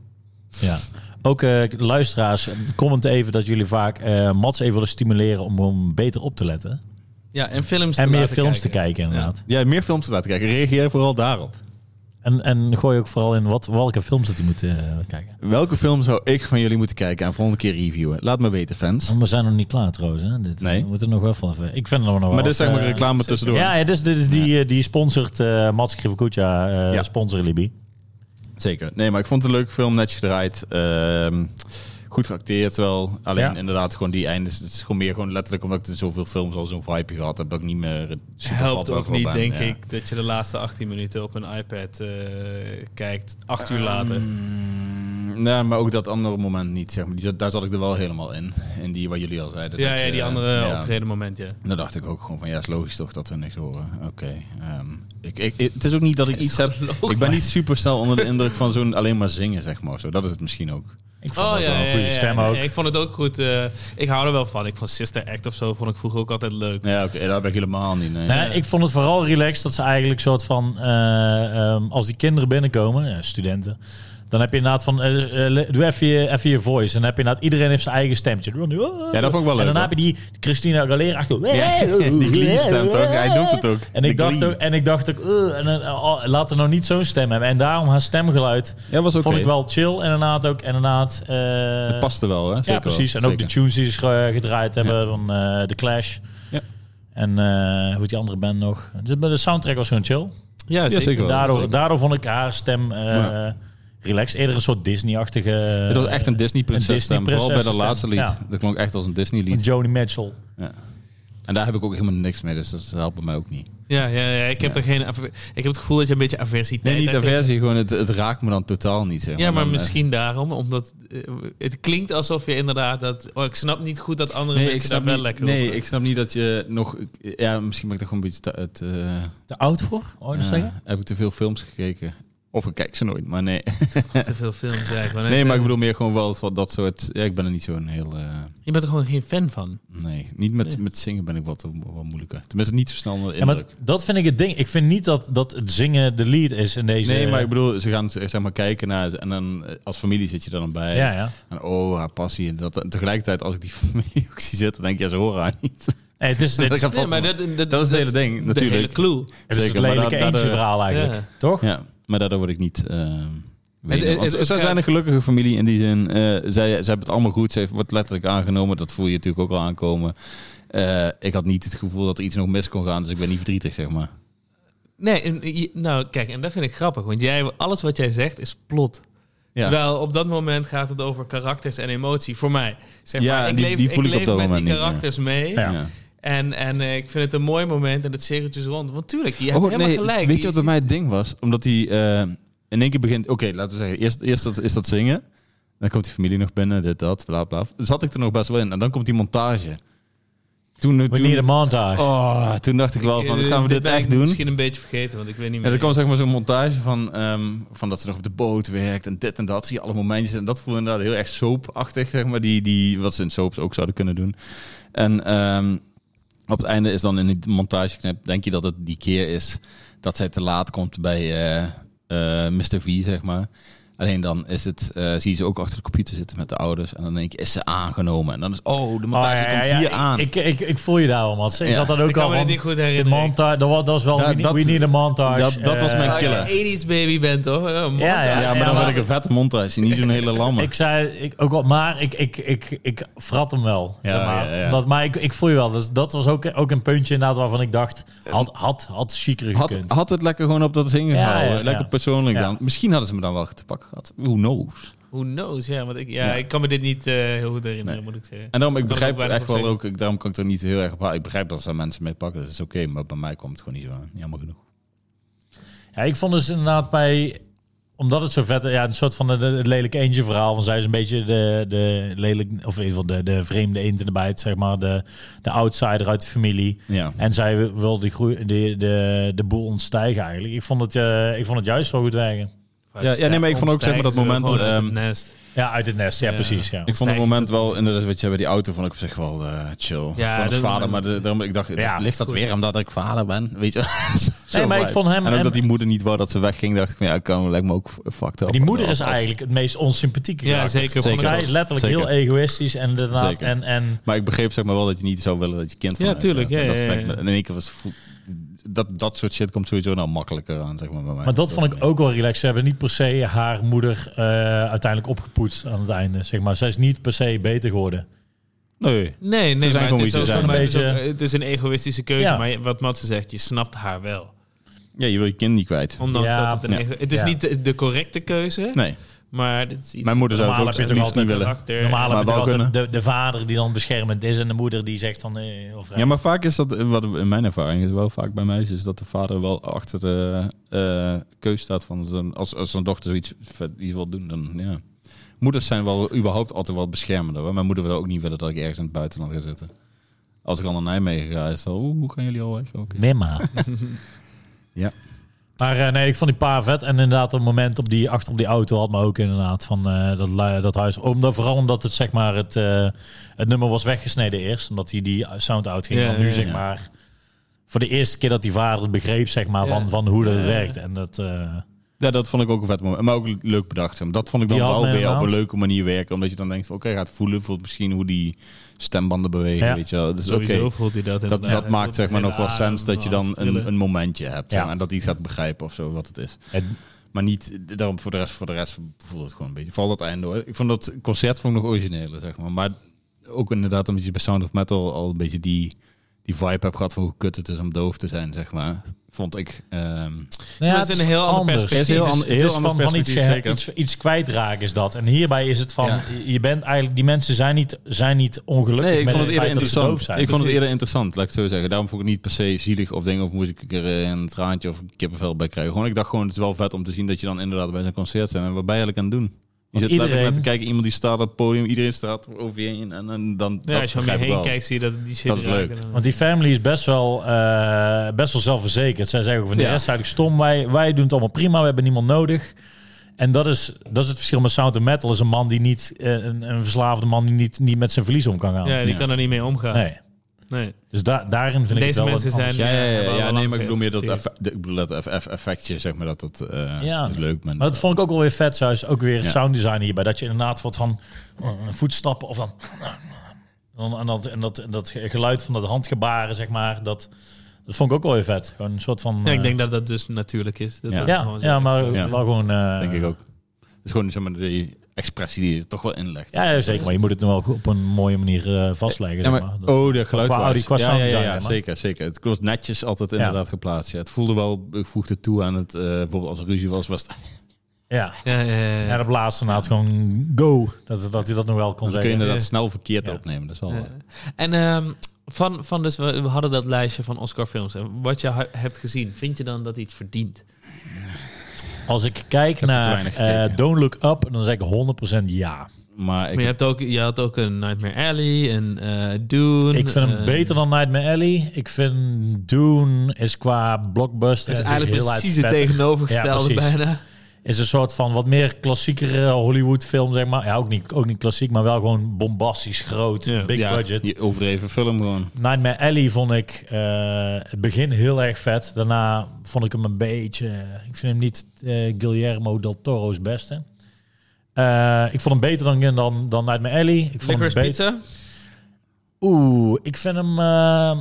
[SPEAKER 2] Ja. Ook eh, luisteraars, comment even dat jullie vaak eh, Mats even willen stimuleren om hem beter op te letten.
[SPEAKER 3] Ja, en films
[SPEAKER 2] En
[SPEAKER 3] te
[SPEAKER 2] meer
[SPEAKER 3] laten
[SPEAKER 2] films te kijken, inderdaad.
[SPEAKER 1] Ja, meer films te laten kijken. Reageer vooral daarop.
[SPEAKER 2] En, en gooi ook vooral in wat, welke films dat hij moet eh, kijken.
[SPEAKER 1] Welke film zou ik van jullie moeten kijken en volgende keer reviewen? Laat me weten, fans.
[SPEAKER 2] Want we zijn nog niet klaar trouwens. Hè? Dit, eh,
[SPEAKER 1] Nee.
[SPEAKER 2] We moeten nog wel van even... Ik vind het nog wel...
[SPEAKER 1] Maar dit is
[SPEAKER 2] wat,
[SPEAKER 1] zeg maar
[SPEAKER 2] eh,
[SPEAKER 1] reclame tussendoor.
[SPEAKER 2] Ja, ja dus, dit is die, eh, die sponsort eh Mats Krivokucha, eh
[SPEAKER 1] Ja.
[SPEAKER 2] sponsor Libby.
[SPEAKER 1] Zeker. Nee, maar ik vond het een leuke film, netjes gedraaid. Ehm, goed geacteerd wel. Alleen
[SPEAKER 2] Ja.
[SPEAKER 1] inderdaad gewoon die eindes. Het is gewoon meer gewoon letterlijk omdat ik er zoveel films al zo'n vibe gehad heb. Dat ik niet meer super
[SPEAKER 3] Helpt
[SPEAKER 1] vatbaar
[SPEAKER 3] ook
[SPEAKER 1] voor
[SPEAKER 3] niet,
[SPEAKER 1] ben.
[SPEAKER 3] denk
[SPEAKER 1] Ja.
[SPEAKER 3] ik, dat je de laatste 18 minuten op een iPad eh, kijkt, acht
[SPEAKER 2] Ehm,
[SPEAKER 3] uur later.
[SPEAKER 1] Mm, nee, maar ook dat andere moment niet, zeg maar. Die, zat- daar zat ik er wel helemaal in. In die wat jullie al zeiden.
[SPEAKER 3] ja,
[SPEAKER 1] dat
[SPEAKER 3] ja,
[SPEAKER 1] je-
[SPEAKER 3] die
[SPEAKER 2] eh,
[SPEAKER 3] andere
[SPEAKER 1] ja.
[SPEAKER 3] optreden moment, ja.
[SPEAKER 1] Dan dacht ik ook gewoon van, ja, is logisch toch dat we niks horen. Oké. ehm, ik, ik, ik- het is ook niet dat ik iets heb... Ik ben niet super snel *laughs* onder de indruk van zo'n alleen maar zingen, zeg maar. Zo. Dat is het misschien ook.
[SPEAKER 2] Ik vond
[SPEAKER 3] Oh
[SPEAKER 2] dat
[SPEAKER 3] ja,
[SPEAKER 2] wel
[SPEAKER 3] ja,
[SPEAKER 2] een goede
[SPEAKER 3] ja, ja.
[SPEAKER 2] stem ook.
[SPEAKER 3] Nee, ik vond het ook goed. eh, ik hou er wel van. Ik vond Sister Act of zo vond ik vroeger ook altijd leuk.
[SPEAKER 1] Ja, oké. dat ben ik helemaal niet. nee.
[SPEAKER 2] Nou, ja, ik vond het vooral relaxed dat ze eigenlijk soort van eh, ehm, als die kinderen binnenkomen, ja, studenten, dan heb je inderdaad van eh, eh, le- doe even je, even je voice en dan heb je inderdaad iedereen heeft zijn eigen stemtje.
[SPEAKER 1] Ja, dat vond ik wel
[SPEAKER 2] "Oh." En
[SPEAKER 1] leuk,
[SPEAKER 2] dan heb
[SPEAKER 1] hoor.
[SPEAKER 2] je die Christina Galera achter. oh,
[SPEAKER 1] Ja, *laughs* die Glee stemt ook. Hij doet het ook.
[SPEAKER 2] En ik
[SPEAKER 1] De
[SPEAKER 2] dacht
[SPEAKER 1] Glee.
[SPEAKER 2] ook, en ik dacht ook, eh, en dan, oh, laat er nou niet zo'n stem hebben. En daarom haar stemgeluid
[SPEAKER 1] Ja, was ook
[SPEAKER 2] vond ik wel chill en inderdaad ook en inderdaad. eh,
[SPEAKER 1] Het paste wel, hè? Zeker
[SPEAKER 2] ja,
[SPEAKER 1] wel.
[SPEAKER 2] precies. En ook
[SPEAKER 1] Zeker.
[SPEAKER 2] de tunes die ze eh, gedraaid hebben van eh The Clash.
[SPEAKER 1] Ja.
[SPEAKER 2] En eh, hoe heet die andere band nog? De, de soundtrack was gewoon chill.
[SPEAKER 3] Ja,
[SPEAKER 1] zeker.
[SPEAKER 3] zeker.
[SPEAKER 1] wel,
[SPEAKER 2] Daardoor,
[SPEAKER 1] zeker.
[SPEAKER 2] daardoor vond ik haar stem eh
[SPEAKER 1] Ja.
[SPEAKER 2] relaxed. Eerder een soort Disney-achtige...
[SPEAKER 1] Het was echt een Disney-prinses
[SPEAKER 2] eh, Een
[SPEAKER 1] stem. Vooral bij dat
[SPEAKER 2] Disney-prinsessenstem,
[SPEAKER 1] laatste lied.
[SPEAKER 2] ja.
[SPEAKER 1] Dat klonk echt als een Disney-lied.
[SPEAKER 2] Joni Mitchell.
[SPEAKER 1] Ja. En daar heb ik ook helemaal niks mee, dus dat helpt mij ook niet.
[SPEAKER 3] Ja, ja, ja ik
[SPEAKER 1] Ja.
[SPEAKER 3] heb daar geen. aver- Ik heb het gevoel dat je een beetje aversiteit
[SPEAKER 1] Nee, niet
[SPEAKER 3] hebt.
[SPEAKER 1] aversie, gewoon het, het raakt me dan totaal niet. Zeg
[SPEAKER 3] Ja, maar
[SPEAKER 1] Dan, eh,
[SPEAKER 3] misschien daarom, omdat eh, het klinkt alsof je inderdaad dat. Oh, ik snap niet goed dat andere
[SPEAKER 1] Nee, ik
[SPEAKER 3] mensen
[SPEAKER 1] snap,
[SPEAKER 3] daar wel
[SPEAKER 1] niet,
[SPEAKER 3] lekker op
[SPEAKER 1] nee
[SPEAKER 3] gaan.
[SPEAKER 1] ik snap niet dat je nog... Ja, misschien ben ik daar gewoon een beetje... te- het, eh,
[SPEAKER 2] Te oud voor? Oh,
[SPEAKER 1] eh, heb ik te veel films gekeken? Of ik kijk ze nooit, maar nee.
[SPEAKER 3] te veel films eigenlijk.
[SPEAKER 1] Nee, maar ik bedoel meer gewoon wel van dat soort... Ja, ik ben er niet zo'n heel... eh,
[SPEAKER 3] Je bent er gewoon geen fan van.
[SPEAKER 1] nee, niet met,
[SPEAKER 3] Nee.
[SPEAKER 1] met zingen ben ik wat, wat moeilijker. Tenminste, niet zo snel onder de
[SPEAKER 2] Ja, maar
[SPEAKER 1] indruk.
[SPEAKER 2] dat vind ik het ding. Ik vind niet dat, dat het zingen de lead is in deze...
[SPEAKER 1] Nee, maar ik bedoel, ze gaan zeg maar kijken naar... En dan eh, als familie zit je er dan bij.
[SPEAKER 2] Ja, ja.
[SPEAKER 1] En oh, haar passie. En, dat, en tegelijkertijd, als ik die *laughs* familie ook zie zitten, denk je, ja, ze horen haar niet.
[SPEAKER 2] Nee, Eh, het is,
[SPEAKER 1] *laughs*
[SPEAKER 2] het,
[SPEAKER 1] Dat
[SPEAKER 2] is-
[SPEAKER 1] gaat
[SPEAKER 3] Nee,
[SPEAKER 1] vast
[SPEAKER 3] maar
[SPEAKER 1] wel.
[SPEAKER 3] dat, dat,
[SPEAKER 1] Dat is het hele ding, natuurlijk.
[SPEAKER 3] De hele clue.
[SPEAKER 2] het is
[SPEAKER 1] Zeker,
[SPEAKER 2] het
[SPEAKER 1] maar
[SPEAKER 2] lelijke
[SPEAKER 1] daar- daar de-
[SPEAKER 2] eentje verhaal eigenlijk.
[SPEAKER 3] Ja.
[SPEAKER 2] Toch?
[SPEAKER 1] Ja, maar daardoor word ik niet. eh
[SPEAKER 3] Het- het-
[SPEAKER 1] het,
[SPEAKER 3] het- het
[SPEAKER 1] zij
[SPEAKER 3] gaat-
[SPEAKER 1] zijn een gelukkige familie in die zin. eh, zij, zij hebben het allemaal goed. Ze heeft, wordt letterlijk aangenomen. Dat voel je natuurlijk ook al aankomen. Eh, ik had niet het gevoel dat er iets nog mis kon gaan. Dus ik ben niet verdrietig, zeg maar.
[SPEAKER 3] Nee, en je- nou kijk, en dat vind ik grappig, want jij, alles wat jij zegt is plot.
[SPEAKER 1] Ja.
[SPEAKER 3] Terwijl op dat moment gaat het over karakters en emotie. Voor mij. Zeg
[SPEAKER 1] Ja,
[SPEAKER 3] maar, ik
[SPEAKER 1] die-
[SPEAKER 3] leef,
[SPEAKER 1] die voel
[SPEAKER 3] ik
[SPEAKER 1] ik op
[SPEAKER 3] leef
[SPEAKER 1] dat
[SPEAKER 3] met
[SPEAKER 1] moment
[SPEAKER 3] die
[SPEAKER 1] niet, ja.
[SPEAKER 3] karakters mee.
[SPEAKER 2] Ja.
[SPEAKER 3] En, en eh, ik vind het een mooi moment en het cirkeltjes rond. Want tuurlijk, je hebt
[SPEAKER 1] Oh,
[SPEAKER 3] helemaal
[SPEAKER 1] nee,
[SPEAKER 3] gelijk.
[SPEAKER 1] Weet je
[SPEAKER 3] Je
[SPEAKER 1] wat bij
[SPEAKER 3] ziet-
[SPEAKER 1] mij het ding was? Omdat hij eh, in één keer begint... Oké, laten we zeggen. Eerst, eerst dat, is dat zingen. Dan komt die familie nog binnen. Dit, dat, bla, bla. Zat ik er nog best wel in. En dan komt die montage. Toen,
[SPEAKER 2] We need a
[SPEAKER 1] toen,
[SPEAKER 2] montage.
[SPEAKER 1] oh, toen dacht ik wel van,
[SPEAKER 3] Eh,
[SPEAKER 1] gaan we dit
[SPEAKER 3] ben ik
[SPEAKER 1] echt doen?
[SPEAKER 3] misschien een beetje vergeten, want ik weet niet
[SPEAKER 1] Ja,
[SPEAKER 3] meer.
[SPEAKER 1] er kwam zeg maar zo'n montage van, ehm, van dat ze nog op de boot werkt en dit en dat. Zie je alle momentjes. En dat voelde inderdaad heel erg soapachtig, zeg maar. Die, die, wat ze in soaps ook zouden kunnen doen. En ehm, op het einde is dan in die montageknip, denk je dat het die keer is dat zij te laat komt bij eh, eh, Mr. V, zeg maar. Alleen dan is het, eh, zie je ze ook achter de computer zitten met de ouders. En dan denk je, is ze aangenomen? En dan is, oh, de
[SPEAKER 2] Oh,
[SPEAKER 1] montage
[SPEAKER 2] ja, ja,
[SPEAKER 1] komt
[SPEAKER 2] ja.
[SPEAKER 1] hier aan.
[SPEAKER 2] Ik, ik, ik voel je daar wel, Mats. Ik
[SPEAKER 1] Ja.
[SPEAKER 2] had dat ook
[SPEAKER 3] Ik
[SPEAKER 2] al
[SPEAKER 3] kan me dit
[SPEAKER 2] van...
[SPEAKER 3] niet goed
[SPEAKER 2] De
[SPEAKER 3] herinneren.
[SPEAKER 2] montage, dat was, dat was wel...
[SPEAKER 1] Ja,
[SPEAKER 2] we, need,
[SPEAKER 1] dat-
[SPEAKER 2] we need a montage.
[SPEAKER 1] dat- dat was mijn
[SPEAKER 2] Eh,
[SPEAKER 3] Als je
[SPEAKER 1] killer.
[SPEAKER 3] een 80s baby bent, toch? Ja, een
[SPEAKER 2] Ja,
[SPEAKER 3] montage.
[SPEAKER 1] ja, maar dan
[SPEAKER 2] Ja,
[SPEAKER 1] wil ik een vette montage, niet zo'n hele lamme.
[SPEAKER 2] Ik zei, ik, ook al, maar ik, ik, ik, ik frat hem wel.
[SPEAKER 1] Ja,
[SPEAKER 2] zeg maar
[SPEAKER 1] ja, ja.
[SPEAKER 2] Omdat- maar ik, ik voel je wel. Dus dat was ook, ook een puntje inderdaad waarvan ik dacht, had, had, had chiquer
[SPEAKER 1] Had,
[SPEAKER 2] gekund.
[SPEAKER 1] had het lekker gewoon op dat zingen
[SPEAKER 2] Ja,
[SPEAKER 1] gehouden.
[SPEAKER 2] ja,
[SPEAKER 1] lekker
[SPEAKER 2] ja.
[SPEAKER 1] persoonlijk
[SPEAKER 2] Ja.
[SPEAKER 1] dan. Misschien hadden ze me dan wel te pakken gehad. Who knows?
[SPEAKER 3] Who knows? Ja, want ik, ja,
[SPEAKER 1] Ja.
[SPEAKER 3] ik kan me dit niet eh, heel goed herinneren,
[SPEAKER 1] Nee.
[SPEAKER 3] moet ik zeggen.
[SPEAKER 1] En daarom, ik
[SPEAKER 3] Kan ik
[SPEAKER 1] begrijp
[SPEAKER 3] ook weinig
[SPEAKER 1] echt
[SPEAKER 3] op
[SPEAKER 1] wel ook...
[SPEAKER 3] zeggen.
[SPEAKER 1] Ik, daarom kan ik er niet heel erg op aan. Ik begrijp dat ze daar mensen mee pakken. Dat is oké. maar bij mij komt het gewoon niet zo aan. Jammer genoeg.
[SPEAKER 2] Ja, ik vond dus inderdaad bij omdat het zo vet, ja, een soort van de- de- het lelijke eentje verhaal. Van zij is een beetje de, de lelijk, of in ieder geval de, de vreemde eend in de bijt, zeg maar. De, de outsider uit de familie.
[SPEAKER 1] Ja.
[SPEAKER 2] En zij wil die groei, de, de, de boel ontstijgen eigenlijk. Ik vond het, eh, ik vond het juist wel goed werken.
[SPEAKER 1] Ja, ja, nee, maar ik vond ook, zeg maar, dat
[SPEAKER 3] Omstijgen,
[SPEAKER 1] moment,
[SPEAKER 3] gewoon uit het
[SPEAKER 1] ehm,
[SPEAKER 3] nest.
[SPEAKER 2] Ja, uit het nest. Ja,
[SPEAKER 3] Ja.
[SPEAKER 1] Ik
[SPEAKER 2] precies. Ja.
[SPEAKER 1] vond het
[SPEAKER 3] Stijgend
[SPEAKER 1] moment wel... Inderdaad, wat je bij die auto vond ik op zich wel eh, chill.
[SPEAKER 3] Ja,
[SPEAKER 1] Ja, als
[SPEAKER 3] dat-
[SPEAKER 1] vader. Maar de, daarom, ik dacht,
[SPEAKER 2] Ja,
[SPEAKER 1] ligt dat
[SPEAKER 3] goed.
[SPEAKER 1] weer omdat ik vader ben? Weet je wel? *laughs* Zo- zo
[SPEAKER 2] maar ik
[SPEAKER 1] vibe.
[SPEAKER 2] vond hem-
[SPEAKER 1] En ook
[SPEAKER 2] hem-
[SPEAKER 1] dat die moeder niet wou dat ze wegging. dacht ik van, ja, ik kan, lijkt me ook fucked up.
[SPEAKER 2] die moeder is
[SPEAKER 1] Als-
[SPEAKER 2] eigenlijk het meest onsympathieke
[SPEAKER 3] Ja,
[SPEAKER 2] karakter.
[SPEAKER 3] zeker.
[SPEAKER 2] Vond
[SPEAKER 1] Zeker.
[SPEAKER 2] Zij letterlijk
[SPEAKER 1] Zeker.
[SPEAKER 2] heel egoïstisch en inderdaad.
[SPEAKER 1] Zeker.
[SPEAKER 2] En, en
[SPEAKER 1] Maar ik begreep zeg maar wel dat je niet zou willen dat je kind van
[SPEAKER 3] Ja,
[SPEAKER 1] huis gaat.
[SPEAKER 3] tuurlijk,
[SPEAKER 1] En
[SPEAKER 3] ja,
[SPEAKER 1] dat
[SPEAKER 3] ja,
[SPEAKER 1] lijkt me-
[SPEAKER 3] ja.
[SPEAKER 1] In één keer was vo- dat, dat soort shit komt sowieso nou makkelijker aan, zeg maar, bij mij. Dus
[SPEAKER 2] Maar dat vond ik ook wel relaxed. Ze hebben niet per se haar moeder eh, uiteindelijk opgepoetst aan het einde. Zeg maar. Zij is niet per se beter geworden.
[SPEAKER 1] Nee.
[SPEAKER 3] Nee,
[SPEAKER 1] zijn
[SPEAKER 3] nee, maar
[SPEAKER 1] gewoon
[SPEAKER 3] het is,
[SPEAKER 1] wie ze
[SPEAKER 3] ook-
[SPEAKER 1] zijn.
[SPEAKER 3] maar het is ook-
[SPEAKER 2] Beetje-
[SPEAKER 3] het is een egoïstische keuze.
[SPEAKER 2] Ja.
[SPEAKER 3] Maar je- wat Matze zegt, je snapt haar wel.
[SPEAKER 1] Ja, je wil je kind niet kwijt.
[SPEAKER 3] Ondanks
[SPEAKER 2] Ja.
[SPEAKER 3] dat het een
[SPEAKER 1] Ja.
[SPEAKER 3] ego- Het is
[SPEAKER 2] Ja.
[SPEAKER 3] niet de, de correcte keuze,
[SPEAKER 1] Nee,
[SPEAKER 3] maar dit is iets...
[SPEAKER 1] mijn moeder zou het
[SPEAKER 2] Normaal
[SPEAKER 1] ook
[SPEAKER 2] heb je toch
[SPEAKER 1] liefst niet
[SPEAKER 2] altijd
[SPEAKER 1] willen.
[SPEAKER 3] karakter.
[SPEAKER 2] Normaal
[SPEAKER 1] maar
[SPEAKER 2] heb je
[SPEAKER 1] wel
[SPEAKER 2] toch altijd
[SPEAKER 1] kunnen.
[SPEAKER 2] de, de vader die dan beschermend is en de moeder die zegt dan... eh, heel vrij.
[SPEAKER 1] Ja, maar vaak is dat, eh, wat in mijn ervaring is wel vaak bij meisjes, is dat de vader wel achter de eh, keus staat van zijn, als, als zijn dochter zoiets vet- iets wil doen, dan ja. Moeders zijn wel überhaupt altijd wel beschermender. Hoor. Mijn moeder wil ook niet willen dat ik ergens in het buitenland ga zitten. Als ik al naar Nijmegen ga, is het al, oeh, hoe gaan jullie al weg? Oké.
[SPEAKER 2] Mimma.
[SPEAKER 1] *laughs* Ja.
[SPEAKER 2] Maar eh, nee, ik vond die paar vet. En inderdaad, dat moment op die, achter op die auto had me ook inderdaad van eh, dat, lui- dat huis. Omdat, vooral omdat het, zeg maar, het, eh, het nummer was weggesneden eerst. Omdat hij die sound out ging.
[SPEAKER 3] Ja,
[SPEAKER 2] Want nu,
[SPEAKER 3] ja,
[SPEAKER 2] zeg
[SPEAKER 1] ja.
[SPEAKER 2] maar, voor de eerste keer dat die vader het begreep, zeg maar,
[SPEAKER 3] Ja.
[SPEAKER 2] van, van hoe dat
[SPEAKER 3] Ja.
[SPEAKER 2] werkt. En dat... eh,
[SPEAKER 1] Ja, dat vond ik ook een vet moment. Maar ook leuk bedacht. zeg maar. Dat vond ik dan
[SPEAKER 2] Die had
[SPEAKER 1] wel
[SPEAKER 2] me
[SPEAKER 1] weer op een
[SPEAKER 2] inderdaad.
[SPEAKER 1] leuke manier werken. Omdat je dan denkt, van, oké, gaat voelen. Voelt misschien hoe die stembanden bewegen,
[SPEAKER 2] Ja.
[SPEAKER 1] weet je wel. Dus oké,
[SPEAKER 3] Sowieso voelt hij dat
[SPEAKER 1] dat, dat maakt zeg maar nog wel sens dat je dan een, een momentje hebt. zeg
[SPEAKER 2] Ja.
[SPEAKER 1] maar, en dat hij het gaat begrijpen of zo, wat het is.
[SPEAKER 2] het-
[SPEAKER 1] Maar niet, daarom voor de rest, voor de rest voelde het gewoon een beetje. Vooral dat einde hoor. Ik vond dat concert vond ik nog origineler, zeg maar. Maar ook inderdaad, een beetje bij Sound of Metal al een beetje die... die vibe heb gehad van hoe kut het is om doof te zijn, zeg maar. Vond ik. ehm,
[SPEAKER 2] Nou
[SPEAKER 3] dat is een heel ander
[SPEAKER 1] perspectief. Het is heel ander-
[SPEAKER 2] Het
[SPEAKER 1] heel
[SPEAKER 2] is
[SPEAKER 1] ander
[SPEAKER 2] van, van iets,
[SPEAKER 1] perspectief,
[SPEAKER 2] ge-
[SPEAKER 1] zeker.
[SPEAKER 2] iets, iets kwijtraken is dat. En hierbij is het van,
[SPEAKER 1] Ja.
[SPEAKER 2] je bent eigenlijk, die mensen zijn niet, zijn niet ongelukkig
[SPEAKER 1] nee, ik
[SPEAKER 2] met
[SPEAKER 1] vond het eerder
[SPEAKER 2] feit dat ze doof
[SPEAKER 1] interessant.
[SPEAKER 2] zijn. Dus
[SPEAKER 1] Ik vond het
[SPEAKER 2] Precies.
[SPEAKER 1] eerder interessant, laat ik het zo zeggen. Daarom vond ik het niet per se zielig of ding of moest ik er eh, een traantje of kippenvel bij krijgen. Gewoon, ik dacht gewoon, het is wel vet om te zien dat je dan inderdaad bij zo'n concert bent. En wat ben je eigenlijk aan het doen? Je
[SPEAKER 2] Want
[SPEAKER 1] zit letterlijk
[SPEAKER 2] iedereen-
[SPEAKER 1] naar te kijken, iemand die staat op het podium, iedereen staat over je heen. En, en dan,
[SPEAKER 3] Ja,
[SPEAKER 1] dat
[SPEAKER 3] als je om je
[SPEAKER 1] begrijp ik
[SPEAKER 3] heen
[SPEAKER 1] wel.
[SPEAKER 3] kijkt, zie je dat die shit
[SPEAKER 1] Dat is
[SPEAKER 3] raken.
[SPEAKER 1] leuk.
[SPEAKER 2] Want die family is best wel, eh, best wel zelfverzekerd. Zij zeggen ook van de
[SPEAKER 1] Ja.
[SPEAKER 2] rest is eigenlijk stom. Wij, wij doen het allemaal prima. We hebben niemand nodig. En dat is, dat is het verschil met Sound of Metal. Is een man die niet, eh, een, een verslaafde man die niet, niet met zijn verlies om kan gaan.
[SPEAKER 3] ja, die
[SPEAKER 1] Ja.
[SPEAKER 3] kan er niet mee omgaan.
[SPEAKER 2] Nee.
[SPEAKER 3] Nee.
[SPEAKER 2] Dus da- daarin vind ik het
[SPEAKER 3] Deze
[SPEAKER 2] wel
[SPEAKER 3] mensen
[SPEAKER 2] wat
[SPEAKER 3] zijn...
[SPEAKER 2] anders.
[SPEAKER 1] Ja, ja, ja,
[SPEAKER 3] hebben
[SPEAKER 1] ja, nee,
[SPEAKER 3] al lang
[SPEAKER 1] maar ik bedoel meer dat,
[SPEAKER 3] geïrriteerd.
[SPEAKER 1] effe- de- ik bedoel dat eff- eff- effectje, zeg maar, dat dat eh,
[SPEAKER 2] Ja.
[SPEAKER 1] is leuk. Man.
[SPEAKER 2] Maar dat vond ik ook wel weer vet. Zo is ook weer
[SPEAKER 1] Ja.
[SPEAKER 2] sound design hierbij. Dat je inderdaad wordt van eh, voetstappen of dan... dan- En dat, en, dat, en dat geluid van dat handgebaren, zeg maar. Dat, dat vond ik ook wel weer vet. Gewoon een soort van...
[SPEAKER 3] Ja, ik
[SPEAKER 2] eh,
[SPEAKER 3] denk dat dat dus natuurlijk is. Dat
[SPEAKER 1] Ja.
[SPEAKER 3] dat
[SPEAKER 2] ja,
[SPEAKER 3] gewoon zo
[SPEAKER 2] ja,
[SPEAKER 3] is.
[SPEAKER 2] maar
[SPEAKER 1] Ja.
[SPEAKER 2] wel gewoon... eh,
[SPEAKER 1] denk ik ook. Het is gewoon zeg maar, die expressie die je toch wel inlegt.
[SPEAKER 2] Ja, ja, zeker. Maar je moet het nou wel goed op een mooie manier eh, vastleggen.
[SPEAKER 1] Ja,
[SPEAKER 2] zeg
[SPEAKER 1] maar,
[SPEAKER 2] maar. Dat-
[SPEAKER 1] oh, de geluid.
[SPEAKER 2] qua Audi, qua
[SPEAKER 1] ja, ja, ja,
[SPEAKER 2] sounddesign,
[SPEAKER 1] ja,
[SPEAKER 2] hè, man.
[SPEAKER 1] zeker, zeker. Het klopt netjes altijd
[SPEAKER 2] Ja.
[SPEAKER 1] inderdaad geplaatst. Ja. Het voelde wel, ik voegde het toe aan het, eh, bijvoorbeeld als er ruzie was, was het,
[SPEAKER 2] ja.
[SPEAKER 3] Ja, ja, ja, ja.
[SPEAKER 2] En op laatste naad gewoon go. Dat, dat, hij dat nog wel kon
[SPEAKER 1] dan kun je
[SPEAKER 2] zeggen.
[SPEAKER 1] inderdaad
[SPEAKER 3] Ja.
[SPEAKER 1] snel verkeerd
[SPEAKER 2] Ja.
[SPEAKER 1] opnemen. Dat is wel,
[SPEAKER 3] Ja.
[SPEAKER 1] eh,
[SPEAKER 3] En ehm, van, van dus, we, we hadden dat lijstje van Oscar-films. En wat je ha- hebt gezien, vind je dan dat iets verdient?
[SPEAKER 2] Als ik kijk
[SPEAKER 1] er te
[SPEAKER 2] naar
[SPEAKER 1] weinig gekeken.
[SPEAKER 2] eh, Don't Look Up, dan zeg ik 100% ja.
[SPEAKER 1] maar ik,
[SPEAKER 3] maar je, hebt ook, je had ook een Nightmare Alley en eh Dune.
[SPEAKER 2] Ik vind hem
[SPEAKER 3] eh,
[SPEAKER 2] beter dan Nightmare Alley. Ik vind Dune is qua blockbuster...
[SPEAKER 3] Het is
[SPEAKER 2] en
[SPEAKER 3] eigenlijk
[SPEAKER 2] heel
[SPEAKER 3] precies
[SPEAKER 2] uit
[SPEAKER 3] het
[SPEAKER 2] vet.
[SPEAKER 3] tegenovergestelde
[SPEAKER 2] Ja, precies.
[SPEAKER 3] bijna.
[SPEAKER 2] Is een soort van wat meer klassiekere Hollywood film, zeg maar. Ja, ook niet, ook niet klassiek, maar wel gewoon bombastisch, groot, big
[SPEAKER 1] ja,
[SPEAKER 2] budget.
[SPEAKER 1] je overdreven film gewoon.
[SPEAKER 2] Nightmare Alley vond ik eh, het begin heel erg vet. Daarna vond ik hem een beetje... Ik vind hem niet eh, Guillermo del Toro's beste. Eh, ik vond hem beter dan, dan, dan Nightmare Alley. Ik vond hem
[SPEAKER 3] Licorice
[SPEAKER 2] beter.
[SPEAKER 3] Pizza.
[SPEAKER 2] Oeh, ik vind hem eh